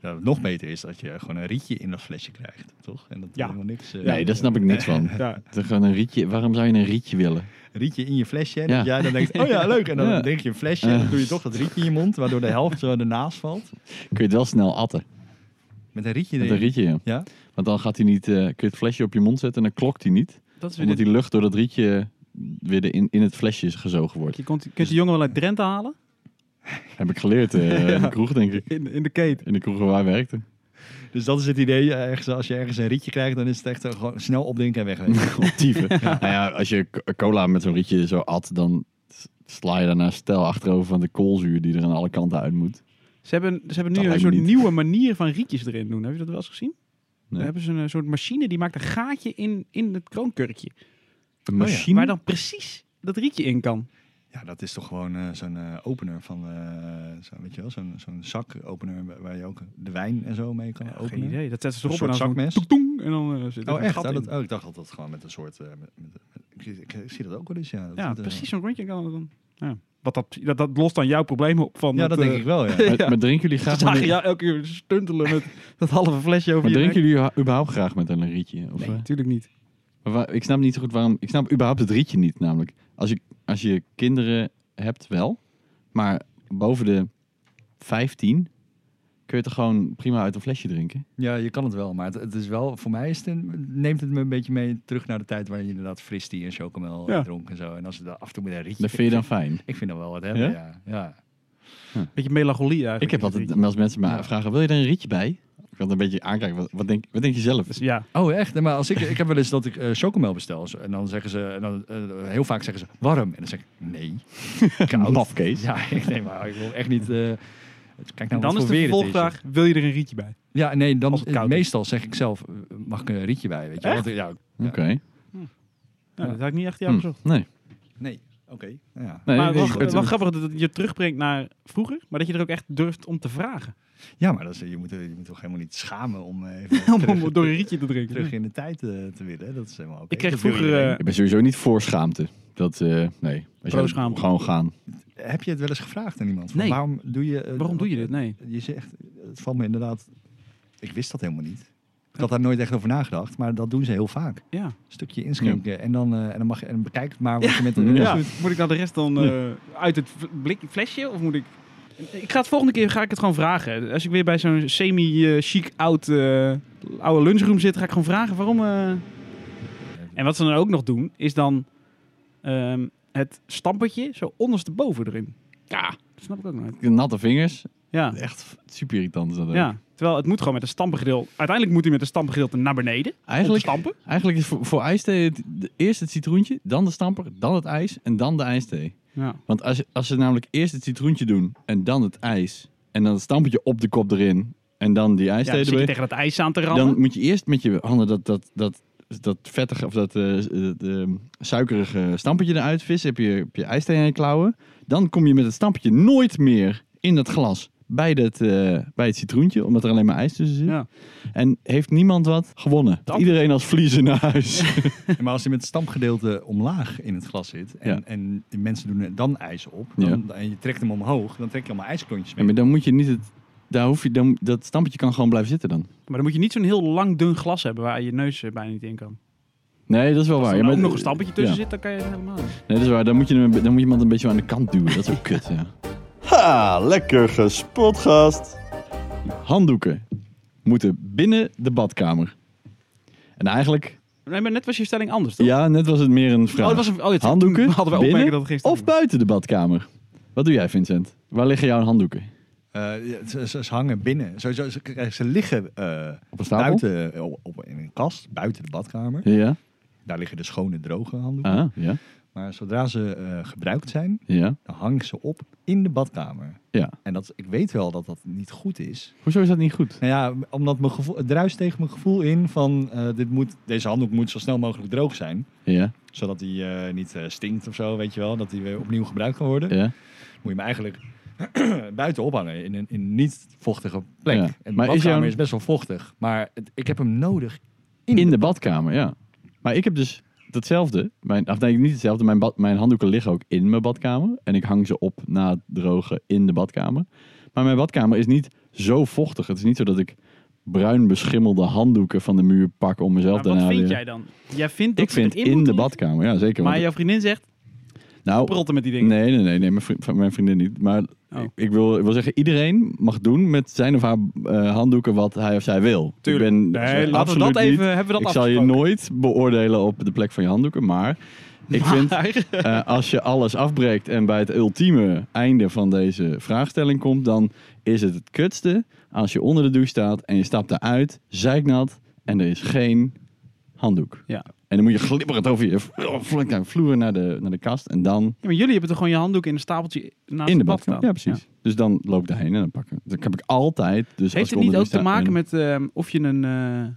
[SPEAKER 4] Nou, wat nog beter is dat je gewoon een rietje in dat flesje krijgt, toch? En dat
[SPEAKER 6] Ja.
[SPEAKER 4] helemaal niks. eh,
[SPEAKER 2] Nee, daar snap ik niks van.
[SPEAKER 6] Ja.
[SPEAKER 2] Dan gaan een rietje, waarom zou je een rietje willen?
[SPEAKER 4] Een [laughs] rietje in je flesje. En
[SPEAKER 2] Ja.
[SPEAKER 4] dat jij dan denkt, oh ja, leuk. En
[SPEAKER 2] [laughs]
[SPEAKER 4] dan
[SPEAKER 2] Ja.
[SPEAKER 4] drink je een flesje en dan doe je toch dat rietje in je mond, waardoor de helft zo ernaast valt.
[SPEAKER 2] Kun je het wel snel atten.
[SPEAKER 4] Met een rietje
[SPEAKER 2] Met
[SPEAKER 4] erin.
[SPEAKER 2] een rietje, ja.
[SPEAKER 4] Ja?
[SPEAKER 2] Want dan gaat hij niet, eh, kun je het flesje op je mond zetten en dan klokt hij niet.
[SPEAKER 6] Dat is weer
[SPEAKER 2] Omdat
[SPEAKER 6] dit.
[SPEAKER 2] die lucht door dat rietje weer de- in, in het flesje gezogen wordt.
[SPEAKER 6] Je kunt, kunt die jongen wel uit Drenthe halen.
[SPEAKER 2] Heb ik geleerd eh, in de kroeg, denk ik.
[SPEAKER 6] In, in de keten.
[SPEAKER 2] In de kroeg waar wij [laughs] werkten.
[SPEAKER 4] Dus dat is het idee. eh, Ergens, als je ergens een rietje krijgt, dan is het echt eh, gewoon snel opdrinken en wegwezen.
[SPEAKER 2] Dieven. Nou ja, als je co- cola met zo'n rietje zo at, dan s- sla je daarna stel achterover van de koolzuur die er aan alle kanten uit moet.
[SPEAKER 6] Ze hebben, ze hebben
[SPEAKER 2] Dat
[SPEAKER 6] nu een
[SPEAKER 2] lijkt
[SPEAKER 6] soort
[SPEAKER 2] me niet.
[SPEAKER 6] nieuwe manier van rietjes erin doen. Heb je dat wel eens gezien?
[SPEAKER 2] Nee.
[SPEAKER 6] Dan hebben ze een eh, soort machine die maakt een gaatje in, in het kroonkurkje.
[SPEAKER 2] Een
[SPEAKER 6] Waar
[SPEAKER 2] machine?
[SPEAKER 6] dan precies dat rietje in kan.
[SPEAKER 4] Ja, dat is toch gewoon eh, zo'n eh, opener van, eh zo, weet je wel, zo'n zo'n zakopener waar- waar je ook de wijn en zo mee kan
[SPEAKER 6] Geen
[SPEAKER 4] openen.
[SPEAKER 6] idee. Dat zetten ze
[SPEAKER 4] Een
[SPEAKER 6] erop en
[SPEAKER 4] soort
[SPEAKER 6] dan zo'n
[SPEAKER 4] zakmes.
[SPEAKER 6] toek-toeng en dan eh, zit er
[SPEAKER 4] Oh,
[SPEAKER 6] een
[SPEAKER 4] echt?
[SPEAKER 6] gat
[SPEAKER 4] Oh,
[SPEAKER 6] in.
[SPEAKER 4] dat, oh, ik dacht dat dat gewoon met een soort... eh, met- met- met- ik, zie- ik- ik zie dat ook wel eens, ja. Dat
[SPEAKER 6] Ja,
[SPEAKER 4] het, eh,
[SPEAKER 6] precies zo'n rondje kan het dan. Ja. Wat dat, dat, dat lost dan jouw probleem op. Van
[SPEAKER 4] Ja, dat denk ik wel, ja.
[SPEAKER 2] Maar, maar drinken jullie graag
[SPEAKER 6] Zag
[SPEAKER 2] met
[SPEAKER 6] je
[SPEAKER 2] een,
[SPEAKER 6] jou elke keer stuntelen met [laughs] dat halve flesje over
[SPEAKER 2] maar
[SPEAKER 6] je nek?
[SPEAKER 2] drinken jullie überhaupt graag met een rietje? Of,
[SPEAKER 6] Nee,
[SPEAKER 2] eh?
[SPEAKER 6] natuurlijk niet.
[SPEAKER 2] Maar waar- ik snap niet zo goed waarom. Ik snap überhaupt het rietje niet, namelijk. Als je, als je kinderen hebt, wel. Maar boven de 15 kun je toch gewoon prima uit een flesje drinken?
[SPEAKER 4] Ja, je kan het wel, maar het, het is wel, voor mij is het een- neemt het me een beetje mee terug naar de tijd waar je inderdaad fristie en chocomel
[SPEAKER 6] Ja.
[SPEAKER 4] dronk en zo. En als het daar af en toe met een rietje...
[SPEAKER 2] Dat vind je dan fijn.
[SPEAKER 4] Ik vind dat wel wat hebben,
[SPEAKER 2] Ja?
[SPEAKER 4] ja. ja.
[SPEAKER 6] Beetje melancholie eigenlijk.
[SPEAKER 2] Ik heb
[SPEAKER 6] dat
[SPEAKER 2] altijd,
[SPEAKER 6] rietje.
[SPEAKER 2] als mensen me
[SPEAKER 4] Ja.
[SPEAKER 2] vragen, wil je er een rietje bij? Ik wil een beetje aankijken, wat, wat, denk, wat denk je zelf?
[SPEAKER 6] Dus ja,
[SPEAKER 4] Oh, echt? Nee, maar als ik, ik heb wel eens dat ik eh, chocomel bestel zo- en dan zeggen ze, en dan, eh, heel vaak zeggen ze warm. En dan zeg ik, nee, [laughs] koud.
[SPEAKER 2] Mafkees.
[SPEAKER 4] Ja, [laughs] nee, maar ik wil echt niet... eh, Kijk
[SPEAKER 6] en
[SPEAKER 4] nou
[SPEAKER 6] dan
[SPEAKER 4] wat
[SPEAKER 6] is
[SPEAKER 4] voor
[SPEAKER 6] de
[SPEAKER 4] weer het is, joh.
[SPEAKER 6] vervolgvraag, wil je er een rietje bij?
[SPEAKER 4] Ja, nee, dan
[SPEAKER 6] Als het koud is.
[SPEAKER 4] meestal zeg ik zelf, eh, mag ik een rietje bij, weet je? wel? Want, eh, ja,
[SPEAKER 2] Oké.
[SPEAKER 6] Nou, dat had ik niet echt jou
[SPEAKER 2] Hm,
[SPEAKER 6] gezocht.
[SPEAKER 2] Nee.
[SPEAKER 4] nee, oké. nou Ja.
[SPEAKER 2] nee
[SPEAKER 6] maar
[SPEAKER 2] nee,
[SPEAKER 6] wel,
[SPEAKER 2] het-
[SPEAKER 6] wel grappig dat het je terugbrengt naar vroeger, maar dat je er ook echt durft [laughs] om te vragen.
[SPEAKER 4] ja, maar dat is, eh, je, moet, je moet toch helemaal niet schamen om eh, [laughs] even
[SPEAKER 6] Om,
[SPEAKER 4] terug-
[SPEAKER 6] om door een rietje te drinken.
[SPEAKER 4] terug in de tijd eh, te willen. Dat is helemaal oké.
[SPEAKER 6] Ik kreeg
[SPEAKER 4] Dat wil
[SPEAKER 6] vroeger...
[SPEAKER 4] iedereen.
[SPEAKER 6] eh,
[SPEAKER 2] ik ben sowieso niet voor schaamte. Dat, eh, nee. Als je
[SPEAKER 6] Pro-schaamte.
[SPEAKER 2] Gewoon gaan.
[SPEAKER 4] Heb je het wel eens gevraagd aan iemand? Van,
[SPEAKER 6] Nee.
[SPEAKER 4] Waarom doe je... eh,
[SPEAKER 6] waarom doe je dit?
[SPEAKER 4] want,
[SPEAKER 6] Nee.
[SPEAKER 4] eh, Je zegt, het valt me inderdaad... Ik wist dat helemaal niet. Ik had daar nooit echt over nagedacht, maar dat doen ze heel vaak.
[SPEAKER 6] Ja.
[SPEAKER 4] stukje inschenken en, dan, eh, en dan mag je, en bekijk het maar wat je met de
[SPEAKER 2] Ja.
[SPEAKER 6] Ja. Moet ik nou de rest dan eh, uit het v- blik, flesje? Of moet ik... Ik ga het volgende keer ga ik het gewoon vragen. Als ik weer bij zo'n semi-chic oud, eh, oude lunchroom zit, ga ik gewoon vragen waarom... eh. En wat ze dan ook nog doen, is dan ehm, het stampertje zo ondersteboven erin. Ja. Dat snap ik ook nooit.
[SPEAKER 2] Natte vingers.
[SPEAKER 6] Ja.
[SPEAKER 2] Echt super irritant is dat ook.
[SPEAKER 6] ja. Terwijl het moet gewoon met een stampergedeelte... Uiteindelijk moet hij met een stampergedeelte naar beneden.
[SPEAKER 2] Eigenlijk-
[SPEAKER 6] Om te stampen.
[SPEAKER 2] Eigenlijk is voor, voor ijsthee het, de- eerst het citroentje, dan de stamper, dan het ijs en dan de ijsthee.
[SPEAKER 6] Ja.
[SPEAKER 2] Want als, je- als ze namelijk eerst het citroentje doen en dan het ijs en dan het stampertje op de kop erin en dan die
[SPEAKER 6] Ja,
[SPEAKER 2] ijsthee
[SPEAKER 6] dan zit je
[SPEAKER 2] erbij,
[SPEAKER 6] tegen dat ijs aan te rammen.
[SPEAKER 2] dan moet je eerst met je handen dat, dat, dat, dat vettige of dat eh, s- eh, dat, ehm, suikerige stampetje eruit vissen, heb je, heb je ijsthee aan je klauwen. Dan kom je met het stampetje nooit meer in dat glas. bij, dat, eh, bij het citroentje, omdat er alleen maar ijs tussen zit.
[SPEAKER 6] Ja.
[SPEAKER 2] En heeft niemand wat gewonnen.
[SPEAKER 6] Dat-
[SPEAKER 2] Iedereen als vliezen naar
[SPEAKER 6] [laughs]
[SPEAKER 2] huis.
[SPEAKER 4] Ja, [laughs] Maar als hij met het stampgedeelte omlaag in het glas zit en,
[SPEAKER 2] Ja.
[SPEAKER 4] en die mensen doen er dan ijs op
[SPEAKER 2] Ja.
[SPEAKER 4] dan, en je trekt hem omhoog, dan trek je allemaal ijsklontjes
[SPEAKER 2] Ja,
[SPEAKER 4] mee.
[SPEAKER 2] maar dan moet je niet het. Daar hoef je, dan, dat stampetje kan gewoon blijven zitten dan.
[SPEAKER 6] Maar dan moet je niet zo'n heel lang dun glas hebben waar je neus eh, bijna niet in kan.
[SPEAKER 2] Nee, dat is wel
[SPEAKER 6] Als
[SPEAKER 2] waar.
[SPEAKER 6] er
[SPEAKER 2] Ja,
[SPEAKER 6] dan
[SPEAKER 2] maar-
[SPEAKER 6] ook nog een stampetje tussen
[SPEAKER 2] Ja.
[SPEAKER 6] zit, dan kan je het helemaal niet.
[SPEAKER 2] Nee, dat is waar. Dan moet, je, hem- dan moet je iemand een beetje aan de kant duwen. Dat is ook kut,
[SPEAKER 6] [laughs]
[SPEAKER 2] ja.
[SPEAKER 5] Ha, lekker gespot, gast.
[SPEAKER 2] Handdoeken moeten binnen de badkamer. En eigenlijk,
[SPEAKER 6] Nee, maar net was je stelling anders, toch?
[SPEAKER 2] ja, net was het meer een vraag.
[SPEAKER 6] Oh, het was een, oh, ja,
[SPEAKER 2] handdoeken
[SPEAKER 6] toen [laughs] hadden wij
[SPEAKER 2] binnen
[SPEAKER 6] opmerken dat het gisteren...
[SPEAKER 2] of buiten de badkamer? Wat doe jij, Vincent? Waar liggen jouw handdoeken?
[SPEAKER 4] Eh, ja, ze, ze- ze hangen binnen. Sowieso, ze, ze liggen eh,
[SPEAKER 2] Op een stapel?
[SPEAKER 4] buiten eh, op, op- in een kast, buiten de badkamer.
[SPEAKER 2] Ja,
[SPEAKER 4] Daar liggen de schone, droge handdoeken.
[SPEAKER 2] ah, ja,
[SPEAKER 4] Maar zodra ze eh, gebruikt zijn,
[SPEAKER 2] ja.
[SPEAKER 4] dan hang ik ze op in de badkamer.
[SPEAKER 2] Ja.
[SPEAKER 4] En dat, ik weet wel dat dat niet goed is.
[SPEAKER 2] Hoezo is dat niet goed?
[SPEAKER 4] Nou ja, omdat mijn gevoel, het druist tegen mijn gevoel in van eh, dit moet, deze handdoek moet zo snel mogelijk droog zijn.
[SPEAKER 2] Ja,
[SPEAKER 4] Zodat die eh, niet eh, stinkt of zo, weet je wel. Dat die weer opnieuw gebruikt kan worden.
[SPEAKER 2] ja.
[SPEAKER 4] Moet je hem eigenlijk [clears throat] buiten ophangen in een, in een niet vochtige plek.
[SPEAKER 2] Ja.
[SPEAKER 4] En
[SPEAKER 2] Maar
[SPEAKER 4] de
[SPEAKER 2] is
[SPEAKER 4] badkamer is,
[SPEAKER 2] jouw-
[SPEAKER 4] best wel vochtig. Maar het- ik heb hem nodig in,
[SPEAKER 2] In de badkamer, ja. Maar ik heb dus datzelfde. Mijn, of nee, niet hetzelfde. Mijn, bad, mijn handdoeken liggen ook in mijn badkamer. En ik hang ze op na het drogen in de badkamer. Maar mijn badkamer is niet zo vochtig. Het is niet zo dat ik bruin beschimmelde handdoeken van de muur pak om mezelf
[SPEAKER 6] Maar Nou, wat
[SPEAKER 2] daarna
[SPEAKER 6] vind
[SPEAKER 2] weer-
[SPEAKER 6] jij dan? Jij vindt dat
[SPEAKER 2] Ik
[SPEAKER 6] ze
[SPEAKER 2] vind
[SPEAKER 6] erin
[SPEAKER 2] in de
[SPEAKER 6] moeten
[SPEAKER 2] badkamer, ja zeker.
[SPEAKER 6] liggen, Maar
[SPEAKER 2] want-
[SPEAKER 6] jouw vriendin zegt,
[SPEAKER 2] nou,
[SPEAKER 6] protten met die dingen.
[SPEAKER 2] Nee, nee, nee, nee mijn, vriend- mijn vriendin niet. Maar
[SPEAKER 6] Oh.
[SPEAKER 2] ik, ik wil, ik wil zeggen, iedereen mag doen met zijn of haar eh, handdoeken wat hij of zij wil.
[SPEAKER 6] Tuurlijk.
[SPEAKER 2] Ik ben
[SPEAKER 6] Nee, laten we
[SPEAKER 2] absoluut
[SPEAKER 6] dat
[SPEAKER 2] niet-
[SPEAKER 6] even... Hebben we dat
[SPEAKER 2] ik zal je
[SPEAKER 6] afgesproken?
[SPEAKER 2] nooit beoordelen op de plek van je handdoeken, maar ik vind eh, als je alles afbreekt en bij het ultieme einde van deze vraagstelling komt, dan is het het kutste als je onder de douche staat en je stapt eruit, zeiknat en er is geen handdoek.
[SPEAKER 6] Ja.
[SPEAKER 2] En dan moet je glibberend over je vl- vloer naar de, naar de kast en dan
[SPEAKER 6] [laughs] Ja, maar jullie hebben toch gewoon je handdoek in een stapeltje naast
[SPEAKER 2] in de
[SPEAKER 6] het bad
[SPEAKER 2] badkamer. Ja,
[SPEAKER 6] staan?
[SPEAKER 2] precies. Dus dan loop ik daarheen en dan pak ik hem. Dat heb ik altijd. Dus als
[SPEAKER 6] Heeft
[SPEAKER 2] ik
[SPEAKER 6] het
[SPEAKER 2] onder
[SPEAKER 6] niet
[SPEAKER 2] de
[SPEAKER 6] ook
[SPEAKER 2] douche
[SPEAKER 6] te
[SPEAKER 2] sta
[SPEAKER 6] maken
[SPEAKER 2] en-
[SPEAKER 6] met eh, of je een eh,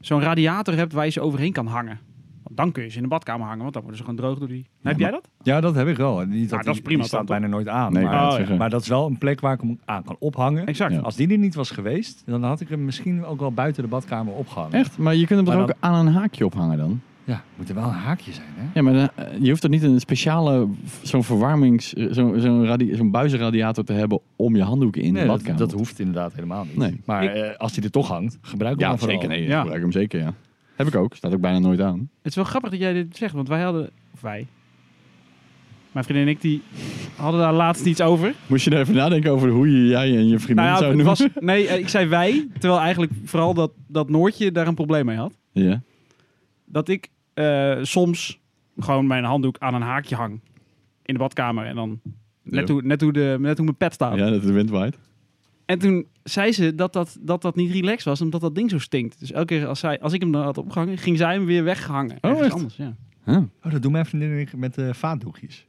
[SPEAKER 6] zo'n radiator hebt waar je ze overheen kan hangen? Want dan kun je ze in de badkamer hangen, want dan worden ze gewoon droog door die... heb jij dat?
[SPEAKER 4] Ja, dat heb ik wel. Niet dat,
[SPEAKER 6] dat is
[SPEAKER 4] die-
[SPEAKER 6] prima
[SPEAKER 4] Die staat
[SPEAKER 6] dan,
[SPEAKER 4] bijna nooit aan.
[SPEAKER 2] Nee, ik wou
[SPEAKER 4] maar,
[SPEAKER 2] het zeggen.
[SPEAKER 4] maar dat is wel een plek waar ik hem aan kan ophangen.
[SPEAKER 6] Exact.
[SPEAKER 2] Ja.
[SPEAKER 4] Als die er niet was geweest, dan had ik hem misschien ook wel buiten de badkamer opgehangen.
[SPEAKER 2] Echt? Maar je kunt hem
[SPEAKER 4] Maar
[SPEAKER 2] er ook aan een haakje ophangen dan?
[SPEAKER 4] Ja, moet er wel een haakje zijn, hè?
[SPEAKER 2] Ja, maar dan, eh, je hoeft er niet een speciale, v- zo'n verwarmings, eh, zo'n zo'n radi- zo'n buizenradiator te hebben om je handdoeken in de
[SPEAKER 4] Nee,
[SPEAKER 2] badkamer.
[SPEAKER 4] dat, dat hoeft inderdaad helemaal niet.
[SPEAKER 2] Nee.
[SPEAKER 4] Maar
[SPEAKER 6] Ik-
[SPEAKER 4] eh, als die er toch hangt, gebruik hem
[SPEAKER 2] ja,
[SPEAKER 4] dan vooral.
[SPEAKER 2] zeker. Nee, ik
[SPEAKER 6] Ja.
[SPEAKER 2] gebruik hem zeker, ja. Heb ik ook. Staat ook bijna nooit aan.
[SPEAKER 6] Het is wel grappig dat jij dit zegt, want wij hadden... Of wij. Mijn vriendin en ik, die hadden daar laatst iets over.
[SPEAKER 2] Moest je er even nadenken over hoe je jij en je vriendin
[SPEAKER 6] Nou ja,
[SPEAKER 2] zou
[SPEAKER 6] het
[SPEAKER 2] noemen?
[SPEAKER 6] was, nee, eh, ik zei wij, terwijl eigenlijk vooral dat, dat Noortje daar een probleem mee had.
[SPEAKER 2] Ja.
[SPEAKER 6] Dat ik eh, soms gewoon mijn handdoek aan een haakje hang in de badkamer en dan net
[SPEAKER 2] Ja.
[SPEAKER 6] hoe, net hoe, de, net hoe mijn pet staat.
[SPEAKER 2] ja, dat de wind waait.
[SPEAKER 6] En toen zei ze dat dat, dat dat niet relaxed was, omdat dat ding zo stinkt. Dus elke keer als, zij, als ik hem dan had opgehangen, ging zij hem weer weghangen. Ergens
[SPEAKER 2] Oh, echt?
[SPEAKER 6] anders, ja.
[SPEAKER 2] Huh.
[SPEAKER 4] Oh, dat doen mijn vriendin en ik met eh vaatdoekjes.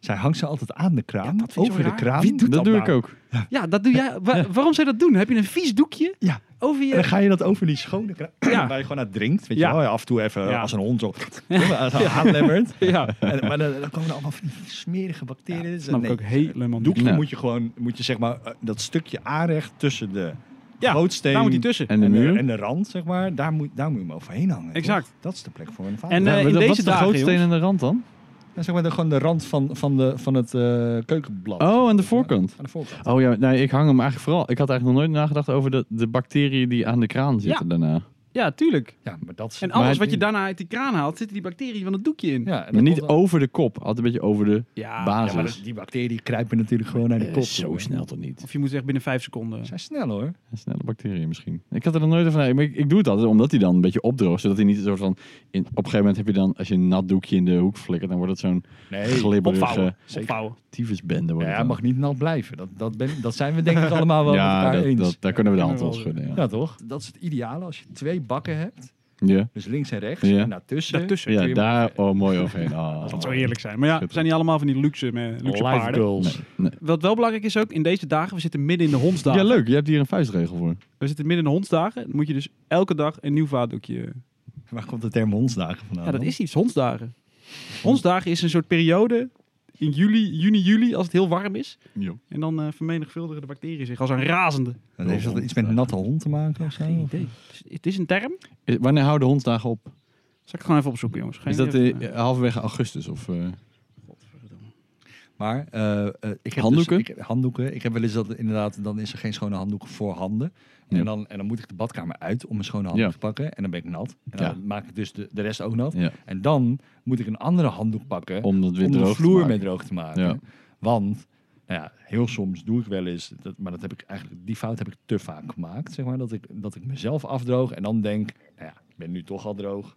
[SPEAKER 4] Zij hangt ze altijd aan de kraan,
[SPEAKER 6] dat vind ik
[SPEAKER 4] over
[SPEAKER 6] zo
[SPEAKER 4] de
[SPEAKER 6] raar.
[SPEAKER 4] kraan.
[SPEAKER 2] Wie doet dat doe ik
[SPEAKER 4] nou?
[SPEAKER 2] ook.
[SPEAKER 6] ja, dat doe jij. wa- waarom zou je dat doen? Heb je een vies doekje
[SPEAKER 4] Ja,
[SPEAKER 2] [laughs]
[SPEAKER 6] over
[SPEAKER 4] en dan
[SPEAKER 6] je...
[SPEAKER 4] ga je dat over die schone kraan,
[SPEAKER 6] Ja.
[SPEAKER 4] waar je gewoon uit drinkt. Weet
[SPEAKER 6] Ja.
[SPEAKER 4] je wel, Ja, af en toe even
[SPEAKER 6] Ja.
[SPEAKER 4] als een hond zo ja. aanlemmert.
[SPEAKER 6] Ja,
[SPEAKER 4] En, maar dan, dan komen er allemaal van die smerige bacteriën. Dus,
[SPEAKER 6] snap
[SPEAKER 4] nee,
[SPEAKER 6] ik ook helemaal niet.
[SPEAKER 4] doekje
[SPEAKER 2] Ja.
[SPEAKER 4] moet je gewoon, moet je zeg maar, eh, dat stukje aanrecht tussen de
[SPEAKER 6] Ja,
[SPEAKER 4] grootsteen
[SPEAKER 6] Daar moet hij tussen.
[SPEAKER 2] En de
[SPEAKER 4] en de,
[SPEAKER 2] muur.
[SPEAKER 4] en de rand, zeg maar. Daar moet, daar moet je hem overheen hangen.
[SPEAKER 6] Exact.
[SPEAKER 4] toch? Dat is de plek voor een vaatdoek.
[SPEAKER 6] En, eh,
[SPEAKER 2] Ja,
[SPEAKER 6] in
[SPEAKER 2] maar dat-
[SPEAKER 6] deze
[SPEAKER 2] wat is de
[SPEAKER 6] dagen,
[SPEAKER 2] grootsteen
[SPEAKER 6] jongens.
[SPEAKER 2] aan de rand dan?
[SPEAKER 4] Ja, zeg maar de, gewoon de rand van, van, de, van het eh, keukenblad.
[SPEAKER 2] Oh, aan de voorkant.
[SPEAKER 4] Aan de voorkant.
[SPEAKER 2] Oh ja, nee, ik hang hem eigenlijk vooral. Ik had eigenlijk nog nooit nagedacht over de, de bacteriën die aan de kraan zitten daarna.
[SPEAKER 6] Ja, tuurlijk.
[SPEAKER 4] Ja, maar dat is...
[SPEAKER 6] En
[SPEAKER 4] maar
[SPEAKER 6] alles
[SPEAKER 4] het-
[SPEAKER 6] wat je daarna uit die kraan haalt, zitten die bacteriën van het doekje in.
[SPEAKER 4] Ja, en
[SPEAKER 2] Maar
[SPEAKER 4] dat
[SPEAKER 2] niet
[SPEAKER 4] komt dan-
[SPEAKER 2] over de kop, altijd een beetje over de
[SPEAKER 6] Ja,
[SPEAKER 4] Ja, maar
[SPEAKER 2] basis.
[SPEAKER 4] dat- die bacteriën kruipen natuurlijk gewoon naar de
[SPEAKER 2] Eh,
[SPEAKER 4] kop.
[SPEAKER 2] zo
[SPEAKER 4] toe.
[SPEAKER 2] snel toch niet?
[SPEAKER 6] Of je moet echt binnen vijf seconden.
[SPEAKER 4] Ze zijn snel hoor.
[SPEAKER 2] Een snelle bacteriën misschien. Ik had er nog nooit van. nee, Maar ik, ik doe het altijd omdat hij dan een beetje opdroogt. Zodat hij niet een soort van. In, op een gegeven moment heb je dan, als je een nat doekje in de hoek flikkert, dan wordt het zo'n glibberige
[SPEAKER 6] Opvouwen.
[SPEAKER 4] zeker.
[SPEAKER 6] Opvouwen.
[SPEAKER 2] tyfusbende.
[SPEAKER 4] Ja,
[SPEAKER 2] wordt het
[SPEAKER 4] hij
[SPEAKER 2] dan.
[SPEAKER 4] mag niet nat blijven. Dat, dat, ben, dat zijn we denk [laughs] ik allemaal wel met
[SPEAKER 2] ja
[SPEAKER 4] elkaar
[SPEAKER 2] dat,
[SPEAKER 4] eens.
[SPEAKER 2] dat, daar kunnen we de hand
[SPEAKER 6] Kunnen
[SPEAKER 2] wel
[SPEAKER 6] we wel
[SPEAKER 2] schudden. Ja.
[SPEAKER 4] Ja, toch? Dat is het ideale als je twee bakken hebt.
[SPEAKER 2] Ja.
[SPEAKER 4] Dus links en rechts.
[SPEAKER 2] Ja.
[SPEAKER 4] En daartussen.
[SPEAKER 6] Daartussen.
[SPEAKER 2] Ja,
[SPEAKER 4] kun je
[SPEAKER 2] daar oh, mooi overheen. Ah.
[SPEAKER 6] Dat zou eerlijk zijn. Maar ja, we zijn niet allemaal van die luxe, eh, luxe
[SPEAKER 4] Life
[SPEAKER 6] paarden.
[SPEAKER 4] goals.
[SPEAKER 2] Nee.
[SPEAKER 6] Wat wel belangrijk is ook, in deze dagen, we zitten midden in de hondsdagen.
[SPEAKER 2] Ja, leuk. Je hebt hier een vuistregel voor.
[SPEAKER 6] We zitten midden in de hondsdagen. Dan moet je dus elke dag een nieuw vaatdoekje.
[SPEAKER 4] Waar komt de term hondsdagen vandaan?
[SPEAKER 6] Ja, dat
[SPEAKER 4] dan?
[SPEAKER 6] is iets. Hondsdagen. Hondsdagen is een soort periode in juli, juni, juli, als het heel warm is.
[SPEAKER 2] Jo.
[SPEAKER 6] En dan eh, vermenigvuldigen de bacteriën zich als een razende.
[SPEAKER 4] Dan heeft dat iets met natte hond te maken of zo?
[SPEAKER 6] Geen idee. Het is- Het is een term. Zal
[SPEAKER 2] Is- Wanneer houden hondsdagen op?
[SPEAKER 6] ik het gewoon even opzoeken, jongens. Geen
[SPEAKER 2] Is dat
[SPEAKER 6] idee.
[SPEAKER 2] eh, halverwege augustus? Of, eh,
[SPEAKER 4] Maar eh, eh, ik heb
[SPEAKER 2] Handdoeken?
[SPEAKER 4] Dus, ik, handdoeken. Ik heb wel eens dat inderdaad, dan is er geen schone handdoeken voor handen.
[SPEAKER 2] Ja.
[SPEAKER 4] En, dan, en dan moet ik de badkamer uit om een schone handdoek
[SPEAKER 2] Ja.
[SPEAKER 4] te pakken. En dan ben ik nat. En dan
[SPEAKER 2] Ja.
[SPEAKER 4] maak ik dus de, de rest ook nat.
[SPEAKER 2] Ja.
[SPEAKER 4] En dan moet ik een andere handdoek pakken om,
[SPEAKER 2] om dat weer droog
[SPEAKER 4] de
[SPEAKER 2] te
[SPEAKER 4] vloer
[SPEAKER 2] maken?
[SPEAKER 4] mee droog te maken.
[SPEAKER 2] Ja.
[SPEAKER 4] Want, nou ja, heel soms doe ik wel eens, dat, maar dat heb ik eigenlijk, die fout heb ik te vaak gemaakt. Zeg maar, dat, ik, dat ik mezelf afdroog en dan denk, nou ja, ik ben nu toch al droog.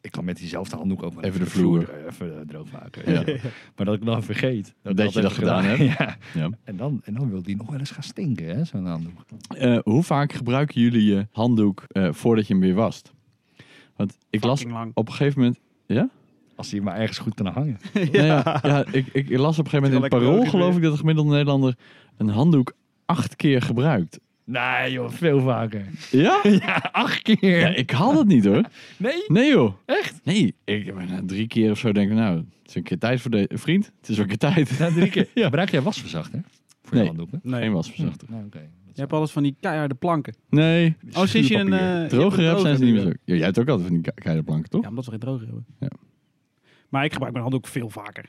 [SPEAKER 4] Ik kan met diezelfde handdoek ook wel
[SPEAKER 2] Even de
[SPEAKER 4] eh, even eh, droog maken. [laughs]
[SPEAKER 2] Ja.
[SPEAKER 4] Maar dat ik dan vergeet.
[SPEAKER 2] Dat
[SPEAKER 4] ik
[SPEAKER 2] je dat
[SPEAKER 4] even
[SPEAKER 2] gedaan
[SPEAKER 4] [laughs] ja.
[SPEAKER 2] Ja.
[SPEAKER 4] En, dan, en dan wil die nog wel eens gaan stinken, hè, zo'n handdoek.
[SPEAKER 2] Eh, hoe vaak gebruiken jullie je handdoek eh, voordat je hem weer wast? Want ik las
[SPEAKER 6] Fucking lang.
[SPEAKER 2] op een gegeven
[SPEAKER 6] [laughs]
[SPEAKER 2] moment.
[SPEAKER 4] Als die maar ergens goed kan hangen.
[SPEAKER 2] Nou ja, ja, ik, ik las op een gegeven moment in het
[SPEAKER 6] Terwijl ik
[SPEAKER 2] parool,
[SPEAKER 6] ook
[SPEAKER 2] geloof
[SPEAKER 6] weer-
[SPEAKER 2] ik, dat de gemiddelde Nederlander een handdoek acht keer gebruikt.
[SPEAKER 4] Nee joh, veel vaker.
[SPEAKER 2] Ja?
[SPEAKER 4] [laughs] Acht keer.
[SPEAKER 2] [laughs] ja ik haal dat niet hoor.
[SPEAKER 4] Nee?
[SPEAKER 2] Nee joh.
[SPEAKER 4] Echt?
[SPEAKER 2] Nee. Ik, maar na drie keer of zo denk ik, nou, het is een keer tijd voor de vriend. Het is wel een keer [laughs] tijd.
[SPEAKER 4] Na drie keer. Gebruik jij wasverzachter voor
[SPEAKER 2] Nee.
[SPEAKER 4] je handdoeken?
[SPEAKER 6] Nee.
[SPEAKER 2] Geen wasverzacht.
[SPEAKER 4] Nou, oké.
[SPEAKER 6] Je hebt alles van die keiharde
[SPEAKER 2] [laughs]
[SPEAKER 6] planken.
[SPEAKER 2] Nee.
[SPEAKER 6] Oh, zit je een... eh,
[SPEAKER 2] Droger
[SPEAKER 6] je hebt
[SPEAKER 2] heb
[SPEAKER 6] een
[SPEAKER 2] zijn ze niet meer zo.
[SPEAKER 6] droger.
[SPEAKER 2] Ja, jij hebt ook altijd van die ke- keiharde planken, toch?
[SPEAKER 6] Ja, omdat we geen droger hebben.
[SPEAKER 2] Ja.
[SPEAKER 6] Maar ik gebruik mijn handdoek veel vaker.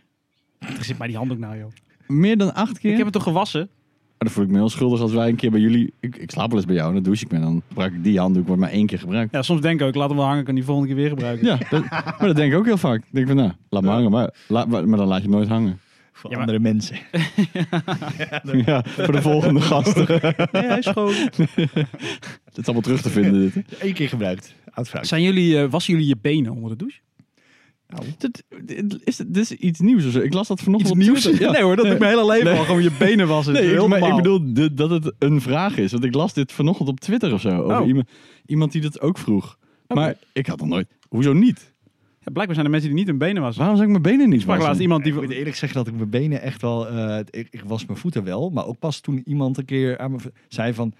[SPEAKER 6] Er zit mij die handdoek nou, joh.
[SPEAKER 2] Meer dan acht keer?
[SPEAKER 6] Ik heb het toch gewassen?
[SPEAKER 2] Maar dan voel ik me heel schuldig als wij een keer bij jullie... Ik, ik slaap wel eens bij jou en dan douche ik me. En dan gebruik ik die handdoek, wordt maar één keer gebruikt.
[SPEAKER 6] Ja, soms denk ik ook, laat hem wel hangen, ik kan die volgende keer weer gebruiken.
[SPEAKER 2] Ja, dat- maar dat denk ik ook heel vaak. Ik denk van, nou, laat me hangen. Maar, laat, maar maar dan laat je hem nooit hangen.
[SPEAKER 4] Voor
[SPEAKER 6] Ja, maar-
[SPEAKER 4] andere mensen.
[SPEAKER 2] Ja, voor de
[SPEAKER 4] [laughs]
[SPEAKER 2] volgende gasten.
[SPEAKER 6] Nee, hij is [laughs] schoon.
[SPEAKER 2] Het is allemaal terug te vinden, dit.
[SPEAKER 4] Eén keer gebruikt. Oud fruit.
[SPEAKER 6] Zijn jullie, eh, wassen jullie je benen onder de douche?
[SPEAKER 2] Dit, dit is, dit is iets nieuws of zo. Ik las dat vanochtend op Twitter. Ja.
[SPEAKER 4] [laughs]
[SPEAKER 6] Nee hoor, dat doe ik mijn hele leven al. Gewoon je benen
[SPEAKER 2] [laughs]
[SPEAKER 6] wassen.
[SPEAKER 2] Nee, ik,
[SPEAKER 6] Heel
[SPEAKER 2] maar ik
[SPEAKER 6] normaal.
[SPEAKER 2] bedoel de- dat het een vraag is. Want ik las dit vanochtend op Twitter of zo. Over
[SPEAKER 6] Oh.
[SPEAKER 2] iemand, iemand die dat ook vroeg. Maar ik had nog nooit... Hoezo niet?
[SPEAKER 6] Ja, blijkbaar zijn er mensen die niet hun benen wassen.
[SPEAKER 2] Waarom zou ik mijn benen niet
[SPEAKER 6] Ik sprak laatst
[SPEAKER 2] wassen?
[SPEAKER 6] iemand die...
[SPEAKER 4] Ik moet eerlijk zeggen dat ik mijn benen echt wel... eh, ik, ik was mijn voeten wel, maar ook pas toen iemand een keer aan me v- zei van...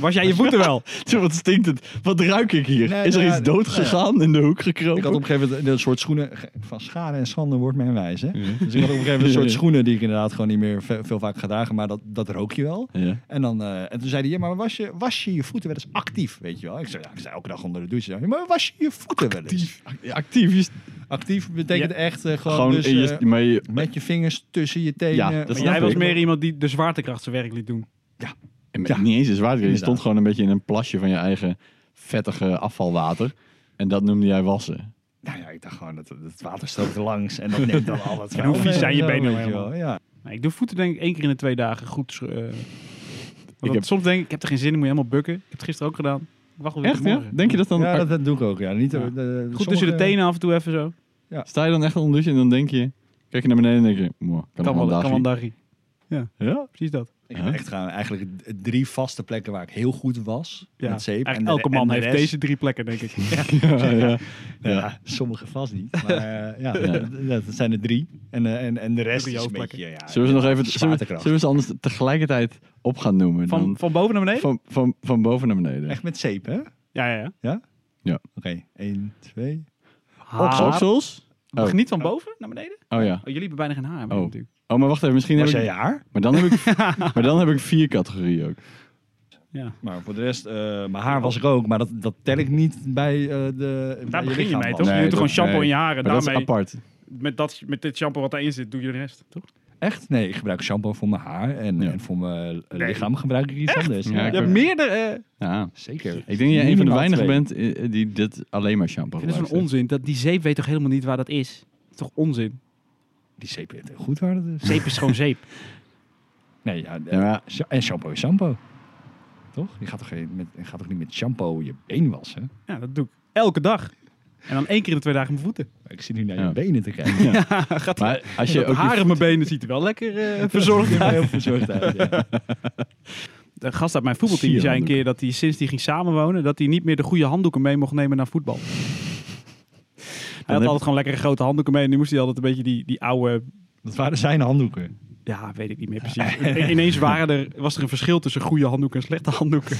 [SPEAKER 6] Was jij je voeten wel?
[SPEAKER 2] [laughs] Zo, wat stinkt het? Wat ruik ik hier?
[SPEAKER 4] Nee,
[SPEAKER 2] is er
[SPEAKER 4] nou ja,
[SPEAKER 2] iets dood
[SPEAKER 4] nou ja.
[SPEAKER 2] gegaan in de hoek gekropen?
[SPEAKER 4] Ik had op een gegeven moment een soort schoenen... ge- Van schade en schande wordt mijn wijs, hè? Dus ik had op een gegeven moment een soort schoenen die ik inderdaad gewoon niet meer ve- veel vaak ga dragen. Maar dat, dat rook je wel.
[SPEAKER 2] Ja.
[SPEAKER 4] En, dan, eh, en toen zei hij, ja, maar was je, was je je voeten wel eens actief, weet je wel? Ik zei, ja, ik zei elke dag onder de douche. Ja, maar was je je voeten wel eens?
[SPEAKER 2] Actief. Je,
[SPEAKER 4] Actief betekent echt eh, gewoon,
[SPEAKER 2] gewoon
[SPEAKER 4] dus,
[SPEAKER 2] in je,
[SPEAKER 4] eh,
[SPEAKER 2] maar je-
[SPEAKER 4] met je vingers tussen je tenen.
[SPEAKER 2] [laughs] Ja, dat
[SPEAKER 4] Maar
[SPEAKER 2] snap
[SPEAKER 6] Jij was
[SPEAKER 2] ik.
[SPEAKER 6] meer iemand die de zwaartekracht zijn werk liet doen.
[SPEAKER 2] Ja. Niet eens een zwaardje. Je stond
[SPEAKER 4] Inderdaad.
[SPEAKER 2] gewoon een beetje in een plasje van je eigen vettige afvalwater. En dat noemde jij wassen.
[SPEAKER 4] Nou ja, ik dacht gewoon, dat dat het water stroomt er langs en dat neemt dan al
[SPEAKER 6] [laughs]
[SPEAKER 4] dat
[SPEAKER 6] En hoe vies zijn je
[SPEAKER 4] Ja,
[SPEAKER 6] benen
[SPEAKER 4] weet
[SPEAKER 6] nou
[SPEAKER 4] je wel,
[SPEAKER 6] helemaal?
[SPEAKER 4] Ja.
[SPEAKER 6] Nee, ik doe voeten denk ik één keer in de twee dagen goed. eh, want dat-
[SPEAKER 2] heb-
[SPEAKER 6] Soms denk ik, ik heb er geen zin in, moet je helemaal bukken. Ik heb het gisteren ook gedaan. Ik wacht wel weer
[SPEAKER 2] Echt,
[SPEAKER 6] tot
[SPEAKER 2] ja?
[SPEAKER 6] morgen.
[SPEAKER 2] Denk je dat dan...
[SPEAKER 4] ja, dat, dat doe ik ook, ja. Niet,
[SPEAKER 6] Ja.
[SPEAKER 4] eh, de- de-
[SPEAKER 6] Goed tussen de
[SPEAKER 4] sommige-
[SPEAKER 6] tenen af en toe even zo.
[SPEAKER 2] Sta je dan echt onder en dan denk je... Kijk je naar beneden en denk je... "Mwah, kan,
[SPEAKER 6] Kan
[SPEAKER 2] nog
[SPEAKER 6] wel,
[SPEAKER 2] wel
[SPEAKER 6] kan wel een
[SPEAKER 2] een
[SPEAKER 6] dagje.
[SPEAKER 2] dagje." Ja? [laughs]
[SPEAKER 6] Precies dat.
[SPEAKER 4] Ik heb echt gewoon eigenlijk drie vaste plekken waar ik heel goed was
[SPEAKER 6] Ja.
[SPEAKER 4] met zeep.
[SPEAKER 6] Eigenlijk
[SPEAKER 4] En de-
[SPEAKER 6] elke
[SPEAKER 4] en
[SPEAKER 6] man
[SPEAKER 4] de
[SPEAKER 6] heeft
[SPEAKER 4] rest-
[SPEAKER 6] deze drie plekken,
[SPEAKER 2] [laughs]
[SPEAKER 6] denk ik.
[SPEAKER 2] Ja, ja.
[SPEAKER 4] Nou Ja, sommige vast
[SPEAKER 6] [laughs]
[SPEAKER 4] niet. Maar eh, ja, dat- dat zijn er drie. En, eh, en, en de rest
[SPEAKER 6] Drie
[SPEAKER 4] is een
[SPEAKER 6] hoofdplekken.
[SPEAKER 4] beetje... Ja,
[SPEAKER 2] Zullen we ze nog even... Zullen we,
[SPEAKER 4] Zwaartekracht.
[SPEAKER 2] zullen we ze anders tegelijkertijd op gaan noemen?
[SPEAKER 6] Van,
[SPEAKER 2] dan?
[SPEAKER 6] van boven naar beneden?
[SPEAKER 2] van, van, van boven naar beneden.
[SPEAKER 4] Echt met zeep, hè? Oké,
[SPEAKER 6] Ja, ja, ja.
[SPEAKER 4] één, twee...
[SPEAKER 6] Haar.
[SPEAKER 2] Oksels? Oh.
[SPEAKER 6] Geniet van boven naar beneden?
[SPEAKER 2] Oh ja.
[SPEAKER 6] Oh, jullie hebben bijna geen haar meer
[SPEAKER 2] Oh.
[SPEAKER 6] natuurlijk.
[SPEAKER 2] Oh, maar wacht even. Misschien heb
[SPEAKER 4] Was
[SPEAKER 2] ik...
[SPEAKER 4] jij je haar?
[SPEAKER 2] Maar dan, heb ik, maar dan heb ik vier categorieën ook.
[SPEAKER 6] Ja.
[SPEAKER 4] Maar voor de rest, eh, mijn haar was ik ook. Maar dat, dat tel ik niet bij eh, de... bij
[SPEAKER 6] Daar
[SPEAKER 4] je
[SPEAKER 6] begin je
[SPEAKER 4] lichaam
[SPEAKER 6] mee,
[SPEAKER 4] was.
[SPEAKER 6] toch?
[SPEAKER 2] Nee,
[SPEAKER 6] je doet
[SPEAKER 2] dat-
[SPEAKER 6] gewoon shampoo
[SPEAKER 2] nee.
[SPEAKER 6] in je haren.
[SPEAKER 2] Maar dat is
[SPEAKER 6] Daarmee,
[SPEAKER 2] apart.
[SPEAKER 6] met, dat, met dit shampoo wat daarin zit, doe je de rest, toch?
[SPEAKER 4] Echt? Nee, ik gebruik shampoo voor mijn haar. En,
[SPEAKER 2] Ja.
[SPEAKER 4] en voor mijn eh,
[SPEAKER 6] Nee.
[SPEAKER 4] lichaam gebruik ik iets anders.
[SPEAKER 2] Ja, ik
[SPEAKER 6] Je hebt meerdere... eh,
[SPEAKER 2] Ja.
[SPEAKER 4] Zeker.
[SPEAKER 2] Ik denk dat jij een van de
[SPEAKER 4] Minimaal
[SPEAKER 2] weinigen
[SPEAKER 4] twee.
[SPEAKER 2] bent eh, die dit alleen maar shampoo
[SPEAKER 6] Dit is
[SPEAKER 2] gebruikt.
[SPEAKER 6] een onzin. Dat, die zeep weet toch helemaal niet waar dat is? Dat is toch onzin?
[SPEAKER 4] Die zeep heeft een goed waar dat is.
[SPEAKER 6] Zeep is gewoon zeep.
[SPEAKER 4] Nee, ja. eh,
[SPEAKER 2] Ja, maar-
[SPEAKER 4] sha- En shampoo is shampoo. Toch? Je gaat toch, geen- met, je gaat toch niet met shampoo je been wassen?
[SPEAKER 6] Ja, dat doe ik. Elke dag. En dan één keer in de twee dagen mijn voeten.
[SPEAKER 4] Maar Ik zit nu naar
[SPEAKER 2] Ja.
[SPEAKER 4] je benen te [laughs] kijken.
[SPEAKER 6] Gaat
[SPEAKER 2] Maar als je
[SPEAKER 6] dat
[SPEAKER 2] ook
[SPEAKER 6] haar
[SPEAKER 2] je,
[SPEAKER 6] in mijn benen ziet er wel lekker eh, verzorgd uit.
[SPEAKER 4] Heel verzorgd uit. eh, Ja.
[SPEAKER 6] De gast uit mijn voetbalteam
[SPEAKER 2] Zie je
[SPEAKER 6] die zei
[SPEAKER 2] handdoeken.
[SPEAKER 6] een keer dat hij sinds hij ging samenwonen, dat hij niet meer de goede handdoeken mee mocht nemen naar
[SPEAKER 2] [laughs]
[SPEAKER 6] voetbal. Hij
[SPEAKER 2] heb-
[SPEAKER 6] had altijd gewoon lekkere grote handdoeken mee en nu moest hij altijd een beetje die, die oude
[SPEAKER 4] Dat waren zijn handdoeken.
[SPEAKER 6] Ja, weet ik niet meer
[SPEAKER 2] [laughs]
[SPEAKER 6] precies. I- Ineens waren er, was er een verschil tussen goede handdoeken en slechte
[SPEAKER 2] [laughs]
[SPEAKER 6] handdoeken.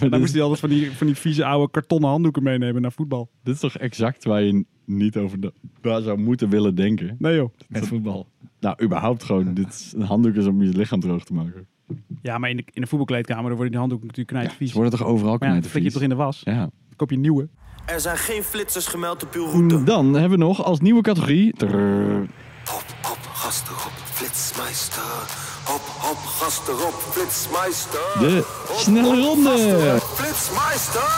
[SPEAKER 6] En dan moest hij altijd van die, van die vieze oude kartonnen handdoeken meenemen naar voetbal.
[SPEAKER 2] Dit is toch exact waar je niet over na- na zou moeten willen denken?
[SPEAKER 6] Nee joh.
[SPEAKER 4] Met voetbal.
[SPEAKER 2] Nou, überhaupt gewoon. Dit is een handdoek is om je lichaam droog te maken.
[SPEAKER 6] Ja, maar in de, in de voetbalkleedkamer dan worden die handdoeken natuurlijk knijtvies.
[SPEAKER 2] Ze worden toch overal
[SPEAKER 6] maar ja,
[SPEAKER 2] knijtervies?
[SPEAKER 6] dan flik je toch in de was.
[SPEAKER 2] Ja.
[SPEAKER 6] Dan koop je een nieuwe.
[SPEAKER 7] Er zijn geen flitsers gemeld op uw route.
[SPEAKER 2] Dan hebben we nog als nieuwe categorie... trrr,
[SPEAKER 7] Hop, hop, gasten op, flitsmeister. Hop, hop, gasten op, flitsmeister.
[SPEAKER 2] De snelle
[SPEAKER 7] hop,
[SPEAKER 2] ronde.
[SPEAKER 7] gasten op, Flitsmeister.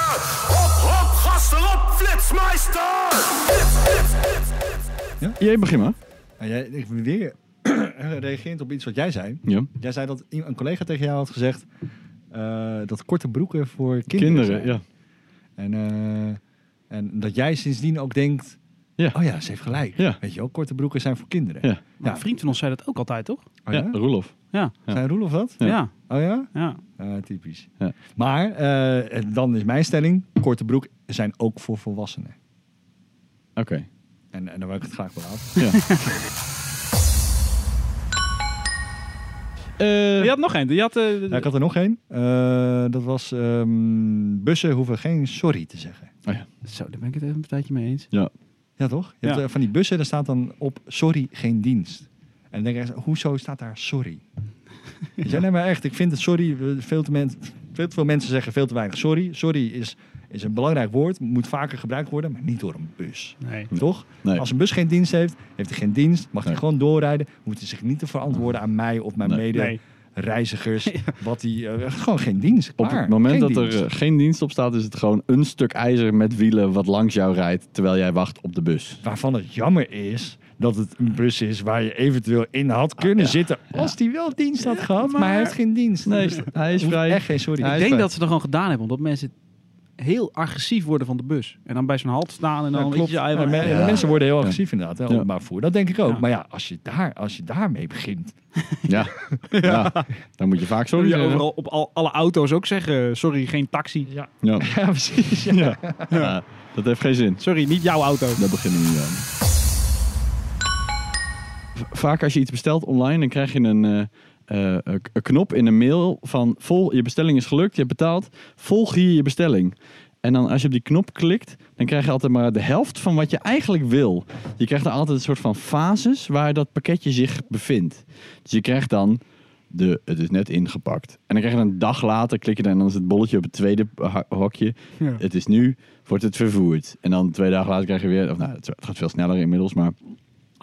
[SPEAKER 7] Hop, hop, gasten op, flitsmeister. Flits, flits, flits, flits.
[SPEAKER 2] Jij begin maar.
[SPEAKER 4] Nou, jij, ik ben weer [clears throat] reageert op iets wat jij zei.
[SPEAKER 2] Ja.
[SPEAKER 4] Jij zei dat i- een collega tegen jou had gezegd eh, dat korte broeken voor kinderen.
[SPEAKER 2] Kinderen,
[SPEAKER 4] zijn.
[SPEAKER 2] ja.
[SPEAKER 4] En, eh, en dat jij sindsdien ook denkt,
[SPEAKER 2] Ja.
[SPEAKER 4] oh ja, ze heeft gelijk.
[SPEAKER 2] Ja.
[SPEAKER 4] Weet je ook, korte broeken zijn voor kinderen.
[SPEAKER 2] Ja.
[SPEAKER 6] Maar een vriend van ons zei dat ook altijd, toch?
[SPEAKER 4] Oh,
[SPEAKER 2] ja,
[SPEAKER 4] ja?
[SPEAKER 2] Roelof.
[SPEAKER 6] Ja,
[SPEAKER 2] Ja.
[SPEAKER 4] Zijn Roelof dat?
[SPEAKER 6] ja,
[SPEAKER 2] Ja.
[SPEAKER 6] ja.
[SPEAKER 4] Oh ja? Eh, typisch. Maar eh, dan is mijn stelling, korte broek zijn ook voor volwassenen.
[SPEAKER 2] Oké.
[SPEAKER 4] En, en daar wil ik het graag bij af.
[SPEAKER 2] Ja. Eh,
[SPEAKER 6] Je had nog één. Je had, eh,
[SPEAKER 4] ik had er nog één. Eh, dat was, ehm, bussen hoeven geen sorry te zeggen.
[SPEAKER 6] Zo, daar ben ik het even een tijdje mee eens.
[SPEAKER 2] oh ja.
[SPEAKER 4] Ja, toch? Je
[SPEAKER 6] Ja.
[SPEAKER 4] hebt, eh, van die bussen, daar staat dan op sorry, geen dienst. En dan denk ik, hoezo staat daar
[SPEAKER 2] [laughs]
[SPEAKER 4] sorry? ja. nee, maar echt, ik vind het sorry, we- veel te, men, veel te veel mensen zeggen veel te weinig sorry. Sorry is, is een belangrijk woord, moet vaker gebruikt worden, maar niet door een bus.
[SPEAKER 6] Nee.
[SPEAKER 4] Toch?
[SPEAKER 2] Nee.
[SPEAKER 4] Als een bus geen dienst heeft, heeft hij geen dienst, mag hij
[SPEAKER 2] Nee.
[SPEAKER 4] gewoon doorrijden, moet hij zich niet te verantwoorden aan mij of mijn
[SPEAKER 2] Nee.
[SPEAKER 6] Nee.
[SPEAKER 4] medereizigers. Wat hij, eh, gewoon geen dienst.
[SPEAKER 2] Op
[SPEAKER 4] klaar.
[SPEAKER 2] het moment
[SPEAKER 4] Geen
[SPEAKER 2] dat
[SPEAKER 4] dienst.
[SPEAKER 2] er eh, geen dienst op staat, is het gewoon een stuk ijzer met wielen wat langs jou rijdt terwijl jij wacht op de bus.
[SPEAKER 4] Waarvan het jammer is dat het een bus is waar je eventueel in had
[SPEAKER 2] Ah,
[SPEAKER 4] kunnen zitten. Als die wel dienst had gehad, maar, hij heeft geen dienst.
[SPEAKER 2] Nee,
[SPEAKER 4] Dus
[SPEAKER 2] hij is
[SPEAKER 4] hoeft
[SPEAKER 2] vrij.
[SPEAKER 4] Echt geen sorry.
[SPEAKER 2] Hij
[SPEAKER 6] Ik
[SPEAKER 2] is
[SPEAKER 6] denk
[SPEAKER 2] bij-
[SPEAKER 6] dat ze dat gewoon gedaan hebben, omdat mensen heel agressief worden van de bus. En dan bij zo'n halt staan en dan...
[SPEAKER 4] Ja,
[SPEAKER 6] weet
[SPEAKER 4] klopt.
[SPEAKER 6] je, ja,
[SPEAKER 4] Ja,
[SPEAKER 6] maar-
[SPEAKER 4] men-
[SPEAKER 2] Ja.
[SPEAKER 4] Mensen worden heel agressief inderdaad, hè,
[SPEAKER 2] Ja.
[SPEAKER 4] openbaar voer. Dat denk ik ook.
[SPEAKER 6] Ja.
[SPEAKER 4] Maar ja, als je, daar, als je daarmee begint.
[SPEAKER 2] Ja. [laughs] ja. Dan moet je vaak
[SPEAKER 6] Zo
[SPEAKER 2] sorry
[SPEAKER 6] moet je
[SPEAKER 2] zeggen.
[SPEAKER 6] overal op al, alle auto's ook zeggen, sorry, geen taxi.
[SPEAKER 2] [laughs] Ja.
[SPEAKER 4] Ja, precies. Ja.
[SPEAKER 2] Ja, Dat heeft geen zin.
[SPEAKER 6] Sorry, niet jouw auto.
[SPEAKER 2] Daar beginnen we niet aan. V- Vaak als je iets bestelt online, dan krijg je een, eh, eh, een k- een knop in een mail van vol, je bestelling is gelukt, je hebt betaald, volg hier je bestelling. En dan als je op die knop klikt, dan krijg je altijd maar de helft van wat je eigenlijk wil. Je krijgt dan altijd een soort van fases waar dat pakketje zich bevindt. Dus je krijgt dan de, het is net ingepakt. En dan krijg je een dag later, klik je dan en dan is het bolletje op het tweede ha- hokje.
[SPEAKER 6] Ja.
[SPEAKER 2] Het is nu, wordt het vervoerd. En dan twee dagen later krijg je weer, of nou, het gaat veel sneller inmiddels, maar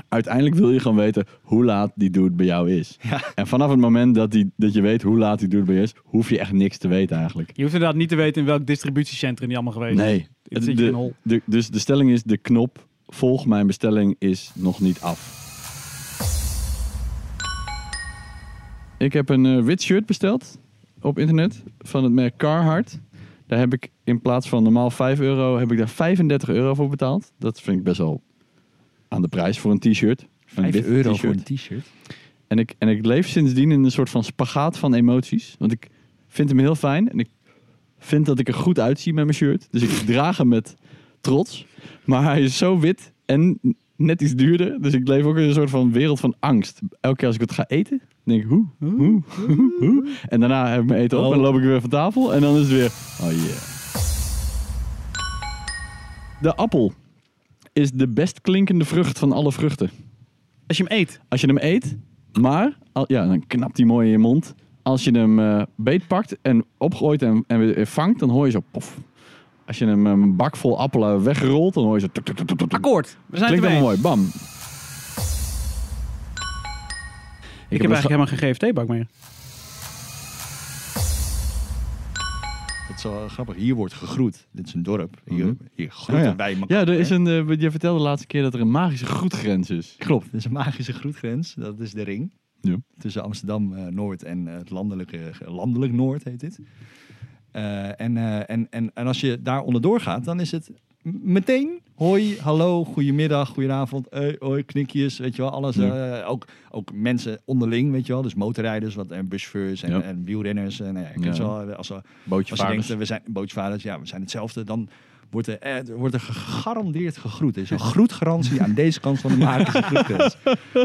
[SPEAKER 2] uiteindelijk wil je gewoon weten hoe laat die dude bij jou is. En vanaf het moment dat, die, dat je weet hoe laat die dude bij je is, hoef je echt niks te weten eigenlijk.
[SPEAKER 6] Je hoeft inderdaad niet te weten in welk distributiecentrum die allemaal geweest is.
[SPEAKER 2] Nee.
[SPEAKER 6] Dit zit je in een hol.
[SPEAKER 2] De, de, dus de stelling is, de knop volg mijn bestelling is nog niet af. Ik heb een eh, wit shirt besteld op internet van het merk Carhartt. Daar heb ik in plaats van normaal 5 euro, heb ik daar 35 euro voor betaald. Dat vind ik best wel aan de prijs voor een t-shirt. Een wit t-shirt.
[SPEAKER 4] t-shirt.
[SPEAKER 2] En ik, en ik leef sindsdien in een soort van spagaat van emoties. Want ik vind hem heel fijn. En ik vind dat ik er goed uitzie met mijn shirt. Dus ik [laughs] draag hem met trots. Maar hij is zo wit en net iets duurder. Dus ik leef ook in een soort van wereld van angst. Elke keer als ik het ga eten, denk ik hoe, hoe, hoe, hoe. En daarna heb ik mijn eten op en dan loop ik weer van tafel. En dan is het weer, oh yeah. De appel is de best klinkende vrucht van alle vruchten.
[SPEAKER 6] Als je hem eet.
[SPEAKER 2] Als je hem eet, maar al- ja, dan knapt hij mooi in je mond. Als je hem eh, beetpakt en opgooit en, en weer vangt, dan hoor je zo pof. Als je hem eh, een bak vol appelen wegrolt, dan hoor je zo... tuk, tuk, tuk, tuk, tuk.
[SPEAKER 6] Akkoord. We zijn
[SPEAKER 2] Klinkt
[SPEAKER 6] het
[SPEAKER 2] wel
[SPEAKER 6] ermee
[SPEAKER 2] mooi,
[SPEAKER 6] eens.
[SPEAKER 2] bam.
[SPEAKER 6] Ik
[SPEAKER 2] het
[SPEAKER 6] heb eigenlijk helemaal geen GFT-bak meer.
[SPEAKER 4] Dat is wel grappig. Hier wordt gegroet. Dit is een dorp. Hier, hier groeten
[SPEAKER 2] Oh ja.
[SPEAKER 4] wij elkaar.
[SPEAKER 2] Ja, er is een, eh, je vertelde de laatste keer dat er een magische groetgrens is.
[SPEAKER 4] [laughs] Klopt, er is een magische groetgrens. Dat is de ring.
[SPEAKER 2] Ja.
[SPEAKER 4] Tussen Amsterdam eh, Noord en eh, het landelijke, landelijk Noord heet dit. Eh, en, eh, en, en, en als je daar onderdoor gaat, dan is het m- meteen hoi, hallo, goedemiddag, goedenavond, hey, hoi, knikjes, weet je wel, alles.
[SPEAKER 2] Ja.
[SPEAKER 4] eh, ook, ook mensen onderling, weet je wel, dus motorrijders wat, en buschauffeurs en,
[SPEAKER 2] Ja.
[SPEAKER 4] en wielrenners. En, nou ja, je kent
[SPEAKER 2] Ja.
[SPEAKER 4] ze wel, als, we- als je
[SPEAKER 2] Bootjevaarders.
[SPEAKER 4] denkt, eh, we zijn bootjevaders, ja, we zijn hetzelfde, dan wordt er, eh, wordt er gegarandeerd gegroet. Er is
[SPEAKER 2] [laughs]
[SPEAKER 4] een groetgarantie aan deze kant van de magische groetgrens. Eh,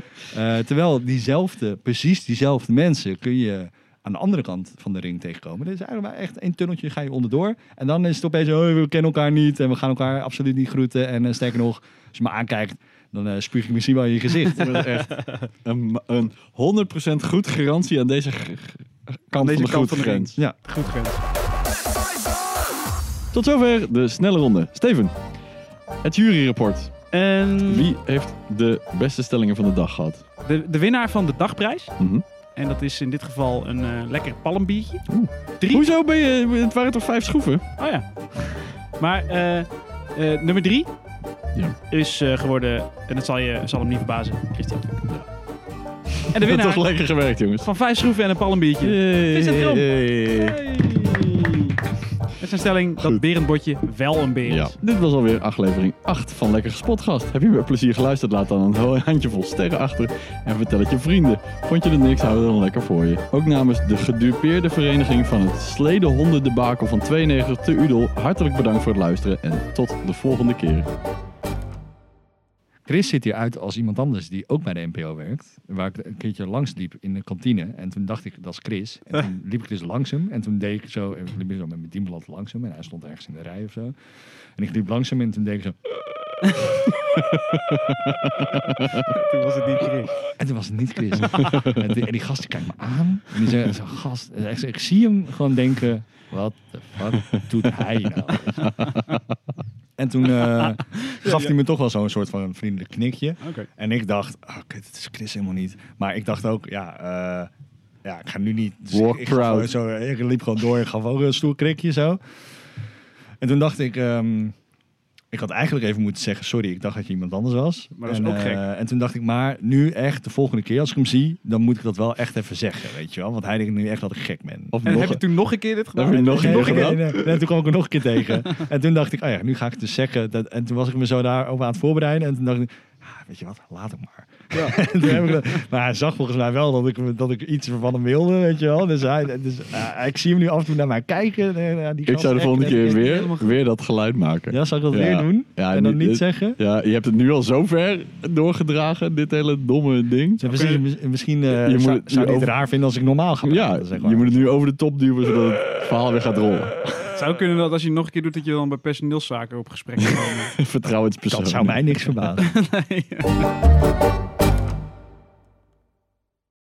[SPEAKER 4] terwijl diezelfde, precies diezelfde mensen kun je aan de andere kant van de ring tegenkomen. Er is eigenlijk maar echt één tunneltje, ga je onderdoor. En dan is het opeens, oh, we kennen elkaar niet en we gaan elkaar absoluut niet groeten. En eh, sterker nog, als je me aankijkt, dan eh spuug ik misschien wel in je
[SPEAKER 2] [laughs]
[SPEAKER 4] gezicht.
[SPEAKER 2] Met echt een, een 100% goed garantie aan deze g- g- kant
[SPEAKER 6] Deze
[SPEAKER 2] van de
[SPEAKER 6] kant van de
[SPEAKER 2] groetgrens.
[SPEAKER 4] ja.
[SPEAKER 6] Goed grens.
[SPEAKER 2] Tot zover de snelle ronde. Steven, het juryrapport.
[SPEAKER 6] En
[SPEAKER 2] Wie heeft de beste stellingen van de dag gehad?
[SPEAKER 6] de, de winnaar van de dagprijs.
[SPEAKER 2] Mhm.
[SPEAKER 6] En dat is in dit geval een eh, lekker palmbiertje. Drie.
[SPEAKER 2] Hoezo ben je... Het waren toch vijf schroeven?
[SPEAKER 6] Oh ja. Maar eh, eh, nummer drie
[SPEAKER 2] Ja.
[SPEAKER 6] is eh, geworden, en dat zal je zal hem niet verbazen, Christian.
[SPEAKER 2] Ja.
[SPEAKER 6] En de
[SPEAKER 2] [laughs] Dat
[SPEAKER 6] winnaar
[SPEAKER 2] was lekker gewerkt, jongens.
[SPEAKER 6] van vijf schroeven en een palmbiertje. Vincent Krom. Hey. Met zijn stelling dat
[SPEAKER 2] Goed.
[SPEAKER 6] berenbotje wel een beer is.
[SPEAKER 2] Ja, dit was alweer aflevering 8 van Lekker Gespotgast. Heb je met plezier geluisterd? Laat dan een ho- [laughs] handjevol sterren achter en vertel het je vrienden. Vond je er niks, hou het dan lekker voor je. Ook namens de gedupeerde vereniging van het Sledehonden debakel van 92 te Udel, hartelijk bedankt voor het luisteren en tot de volgende keer.
[SPEAKER 4] Chris ziet hier uit als iemand anders die ook bij de NPO werkt. Waar ik een keertje langs liep in de kantine. En toen dacht ik, dat is Chris. En toen liep ik dus langs hem. En toen deed ik zo, en ik liep zo met mijn dienblad langs hem. En hij stond ergens in de rij of zo. En ik liep langs hem en toen deed ik zo.
[SPEAKER 6] Toen was het niet Chris.
[SPEAKER 4] En toen was het niet Chris. en, toen- en die gast die kijkt me aan. En die zegt, zo'n gast. en echt zo, ik zie hem gewoon denken, wat de fuck doet hij nou? en toen eh, gaf hij me toch wel zo'n soort van vriendelijk knikje.
[SPEAKER 6] Oké.
[SPEAKER 4] En ik dacht, oh, kut, het is Chris helemaal niet. Maar ik dacht ook, ja, eh, ja ik ga nu niet. Dus
[SPEAKER 2] Walk
[SPEAKER 4] ik, ik, gaf
[SPEAKER 2] proud.
[SPEAKER 4] gewoon Zo, ik liep gewoon door en gaf ook een stoer krikje zo. En toen dacht ik, ehm, ik had eigenlijk even moeten zeggen, sorry, ik dacht dat je iemand anders was.
[SPEAKER 6] Maar dat is
[SPEAKER 4] en,
[SPEAKER 6] ook
[SPEAKER 4] eh,
[SPEAKER 6] gek.
[SPEAKER 4] En toen dacht ik, maar nu echt, de volgende keer als ik hem zie, dan moet ik dat wel echt even zeggen, weet je wel. Want hij denkt nu echt dat ik gek ben.
[SPEAKER 2] Of
[SPEAKER 6] En
[SPEAKER 2] nog
[SPEAKER 6] heb je toen nog een keer dit gedaan?
[SPEAKER 2] Heb je nog
[SPEAKER 4] Nee,
[SPEAKER 2] een keer
[SPEAKER 4] nee,
[SPEAKER 2] gedaan?
[SPEAKER 4] nee, nee. En toen kwam ik er nog een keer tegen. En toen dacht ik, oh ja, nu ga ik het dus zeggen. Dat, en toen was ik me zo daarover aan het voorbereiden. En toen dacht ik, ah, weet je wat, laat het maar. [laughs] En toen heb ik dat- maar hij zag volgens mij wel dat ik, dat ik iets van hem wilde, weet je wel. Dus, hij, dus ah, ik zie hem nu af en toe naar mij kijken. eh, naar die
[SPEAKER 2] Ik zou de
[SPEAKER 4] gast.
[SPEAKER 2] volgende
[SPEAKER 4] En- en-
[SPEAKER 2] keer
[SPEAKER 4] en-
[SPEAKER 2] weer, weer dat geluid maken.
[SPEAKER 4] Ja, zou ik dat
[SPEAKER 2] Ja.
[SPEAKER 4] weer doen?
[SPEAKER 2] Ja,
[SPEAKER 4] en dan
[SPEAKER 2] niet-
[SPEAKER 4] niet
[SPEAKER 2] eh,
[SPEAKER 4] zeggen?
[SPEAKER 2] Ja, je hebt het nu al zo ver doorgedragen, dit hele domme ding.
[SPEAKER 4] Ja, precies. Mis- misschien eh,
[SPEAKER 2] Je moet
[SPEAKER 4] zou,
[SPEAKER 2] het-
[SPEAKER 4] zou
[SPEAKER 2] je
[SPEAKER 4] hij het
[SPEAKER 2] over-
[SPEAKER 4] raar vinden als ik normaal ga
[SPEAKER 2] Ja,
[SPEAKER 4] praten, zeg maar.
[SPEAKER 2] je moet het nu over de top duwen zodat het verhaal weer gaat rollen. [laughs]
[SPEAKER 6] Het zou kunnen dat als je het nog een keer doet, dat je dan bij personeelszaken op gesprek komt.
[SPEAKER 2] Vertrouwenspersoon.
[SPEAKER 4] Dat zou mij niks verbazen.